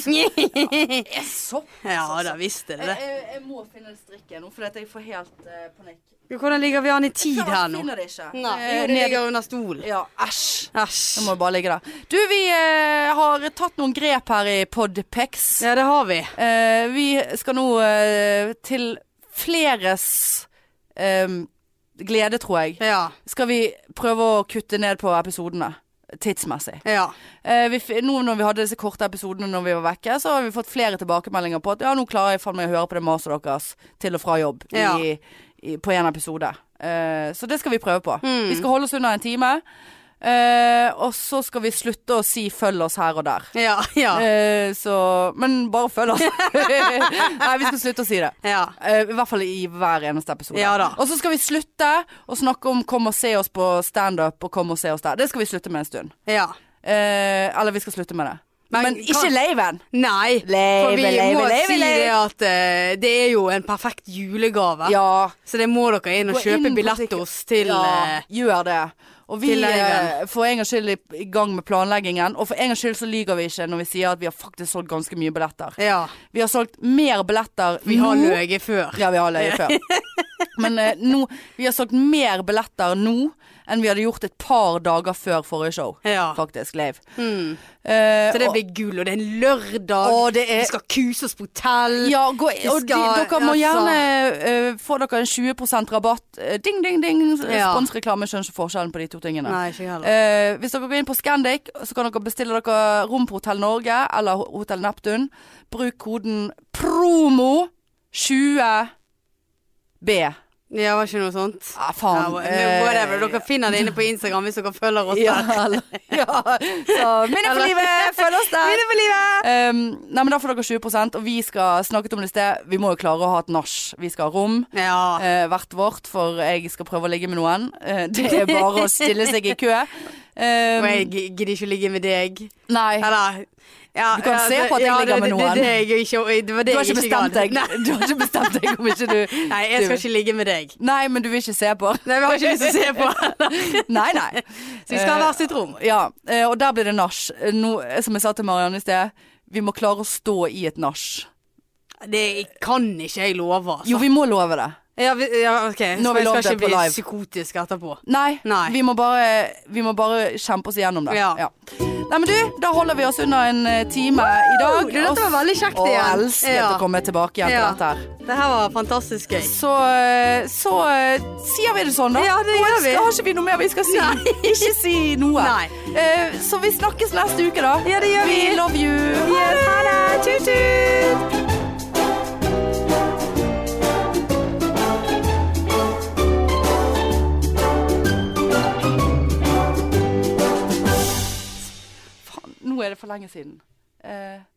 A: så Sopp.
B: (laughs) Ja da, visste det
A: Jeg,
B: det.
A: jeg, jeg må finne strikken nå, for at jeg får helt eh, panikk.
B: Hvordan ligger vi an i tid her nå?
A: finner det ikke.
B: Nei,
A: Eh,
B: jo, det
A: ned-
B: ligger under stolen.
A: Ja, æsj. Jeg
B: Æsj.
A: må bare ligge der. Du, vi eh, har tatt noen grep her i Podpex.
B: Ja, det har vi.
A: Eh, vi skal nå eh, til fleres eh, glede, tror jeg.
B: Ja.
A: Skal vi prøve å kutte ned på episodene tidsmessig?
B: ja.
A: Eh, vi, f- nå når vi hadde disse korte episodene når vi var vekke, så har vi fått flere tilbakemeldinger på at ja, nå klarer jeg faen meg å høre på det maset deres til og fra jobb i,
B: Ja.
A: i, på én episode. Eh, så det skal vi prøve på. Vi skal holde oss under en time. Eh, og så skal vi slutte å si 'følg oss' her og der.
B: Ja, ja.
A: Eh, så Men bare følg
B: (laughs)
A: oss. Nei, vi skal slutte å si det.
B: ja.
A: Eh, I hvert fall i hver eneste episode.
B: Ja da.
A: Og så skal vi slutte å snakke om 'kom og se oss på standup' og 'kom og se oss der'. Det skal vi slutte med en stund.
B: ja.
A: Eh, eller vi skal slutte med det. Men,
B: Men
A: ikke
B: kan-
A: laven!
B: Nei, for vi
A: Leive,
B: må
A: leive,
B: si
A: leive.
B: det at eh, det er jo en perfekt julegave.
A: Ja.
B: Så det må dere inn og
A: Gå
B: kjøpe
A: inn på
B: billett
A: Ticket-
B: hos til
A: Ja,
B: eh,
A: gjør det. Og vi
B: til leiven.
A: eh, for en gangs skyld i, i gang med planleggingen. Og for en gangs skyld så lyver vi ikke når vi sier at vi har faktisk solgt ganske mye billetter.
B: Ja.
A: Vi har solgt mer billetter
B: Vi har
A: nå-
B: løyet før.
A: Ja, vi har løyet
B: (laughs)
A: før. Men eh, nå Vi har solgt mer billetter nå enn vi hadde gjort et par dager før forrige show.
B: Ja. Hmm.
A: Faktisk, Leiv. Eh,
B: Så det
A: og-
B: blir gull, og det er en lørdag.
A: Å, det er-
B: Vi skal kuse oss på hotell.
A: Ja, gå, og
B: skal-
A: de, dere må
B: altså-
A: gjerne eh, få dere en 20 rabatt. Eh, ding, ding, ding.
B: Ja.
A: Sponsreklame. Skjønner ikke forskjellen på de to tingene.
B: Nei, ikke jeg heller.
A: Eh, hvis dere går inn på Scandic, så kan dere bestille dere rom på Hotell Norge eller Ho- Hotell Neptun. Bruk koden PROMO20B.
B: Ja, var ikke noe sånt?
A: Ah,
B: Ja,
A: faen. Eh,
B: whatever. Dere finner det inne på Instagram hvis dere følger oss
A: ja,
B: der.
A: eller- ja. Eh, Så minne for
B: Eller-
A: livet! (laughs) Følg oss
B: (laughs)
A: der!
B: Vinner for livet!
A: Um, nei, men Da får dere 20 og vi skal snakket om det i sted. Vi må jo klare å ha et nach. Vi skal ha rom.
B: Ja.
A: eh, hvert vårt, for jeg skal prøve å ligge med noen. Eh, det er bare å stille seg i kø. Um,
B: Og jeg gidder ikke å ligge med deg.
A: nei,
B: Eller ja,
A: Du kan
B: ja,
A: se
B: det-
A: på at jeg
B: ja,
A: ligger
B: det-
A: med noen.
B: Det, det, er jeg ikke, det var det
A: du har
B: jeg
A: ikke bestemt
B: gadd.
A: deg. Du har ikke bestemt deg om ikke du
B: (laughs) Nei, Nei, jeg skal ikke ligge med deg.
A: Nei, men du vil ikke se på. (laughs)
B: Nei, Vi har ikke lyst til å se på.
A: Nei, nei.
B: Så vi skal ha
A: Eh,
B: hvert sitt rom.
A: Ja, eh, og der blir det nach. Eh, nå, eh, Som jeg sa til Marianne i sted, vi må klare å stå i et nach.
B: Det kan ikke jeg love, altså.
A: Jo, vi må love det.
B: Ja, vi, ja, OK.
A: Nå har
B: Så
A: vi
B: jeg
A: lovd
B: skal
A: det
B: ikke
A: på
B: bli
A: live.
B: psykotisk etterpå.
A: Nei,
B: Nei.
A: Vi, må bare, vi må bare kjempe oss igjennom det.
B: Ja.
A: Nei, men du, da holder vi oss under en eh, time i dag.
B: Du, dette
A: og-
B: var veldig kjekt
A: og
B: igjen.
A: elsket
B: Ja.
A: å komme tilbake igjen til
B: Ja.
A: dette her.
B: Det her var fantastisk gøy.
A: Så, eh, så eh, sier vi det sånn, da.
B: Ja, det
A: Nå
B: gjør vi.
A: Har ikke vi noe mer vi skal si?
B: Nei.
A: Ikke si noe.
B: Nei.
A: Eh, så vi snakkes neste uke, da.
B: Ja, det gjør vi.
A: love you.
B: Yes, ha det! Tut-tut!
A: Faen, nå er det for lenge siden. Eh,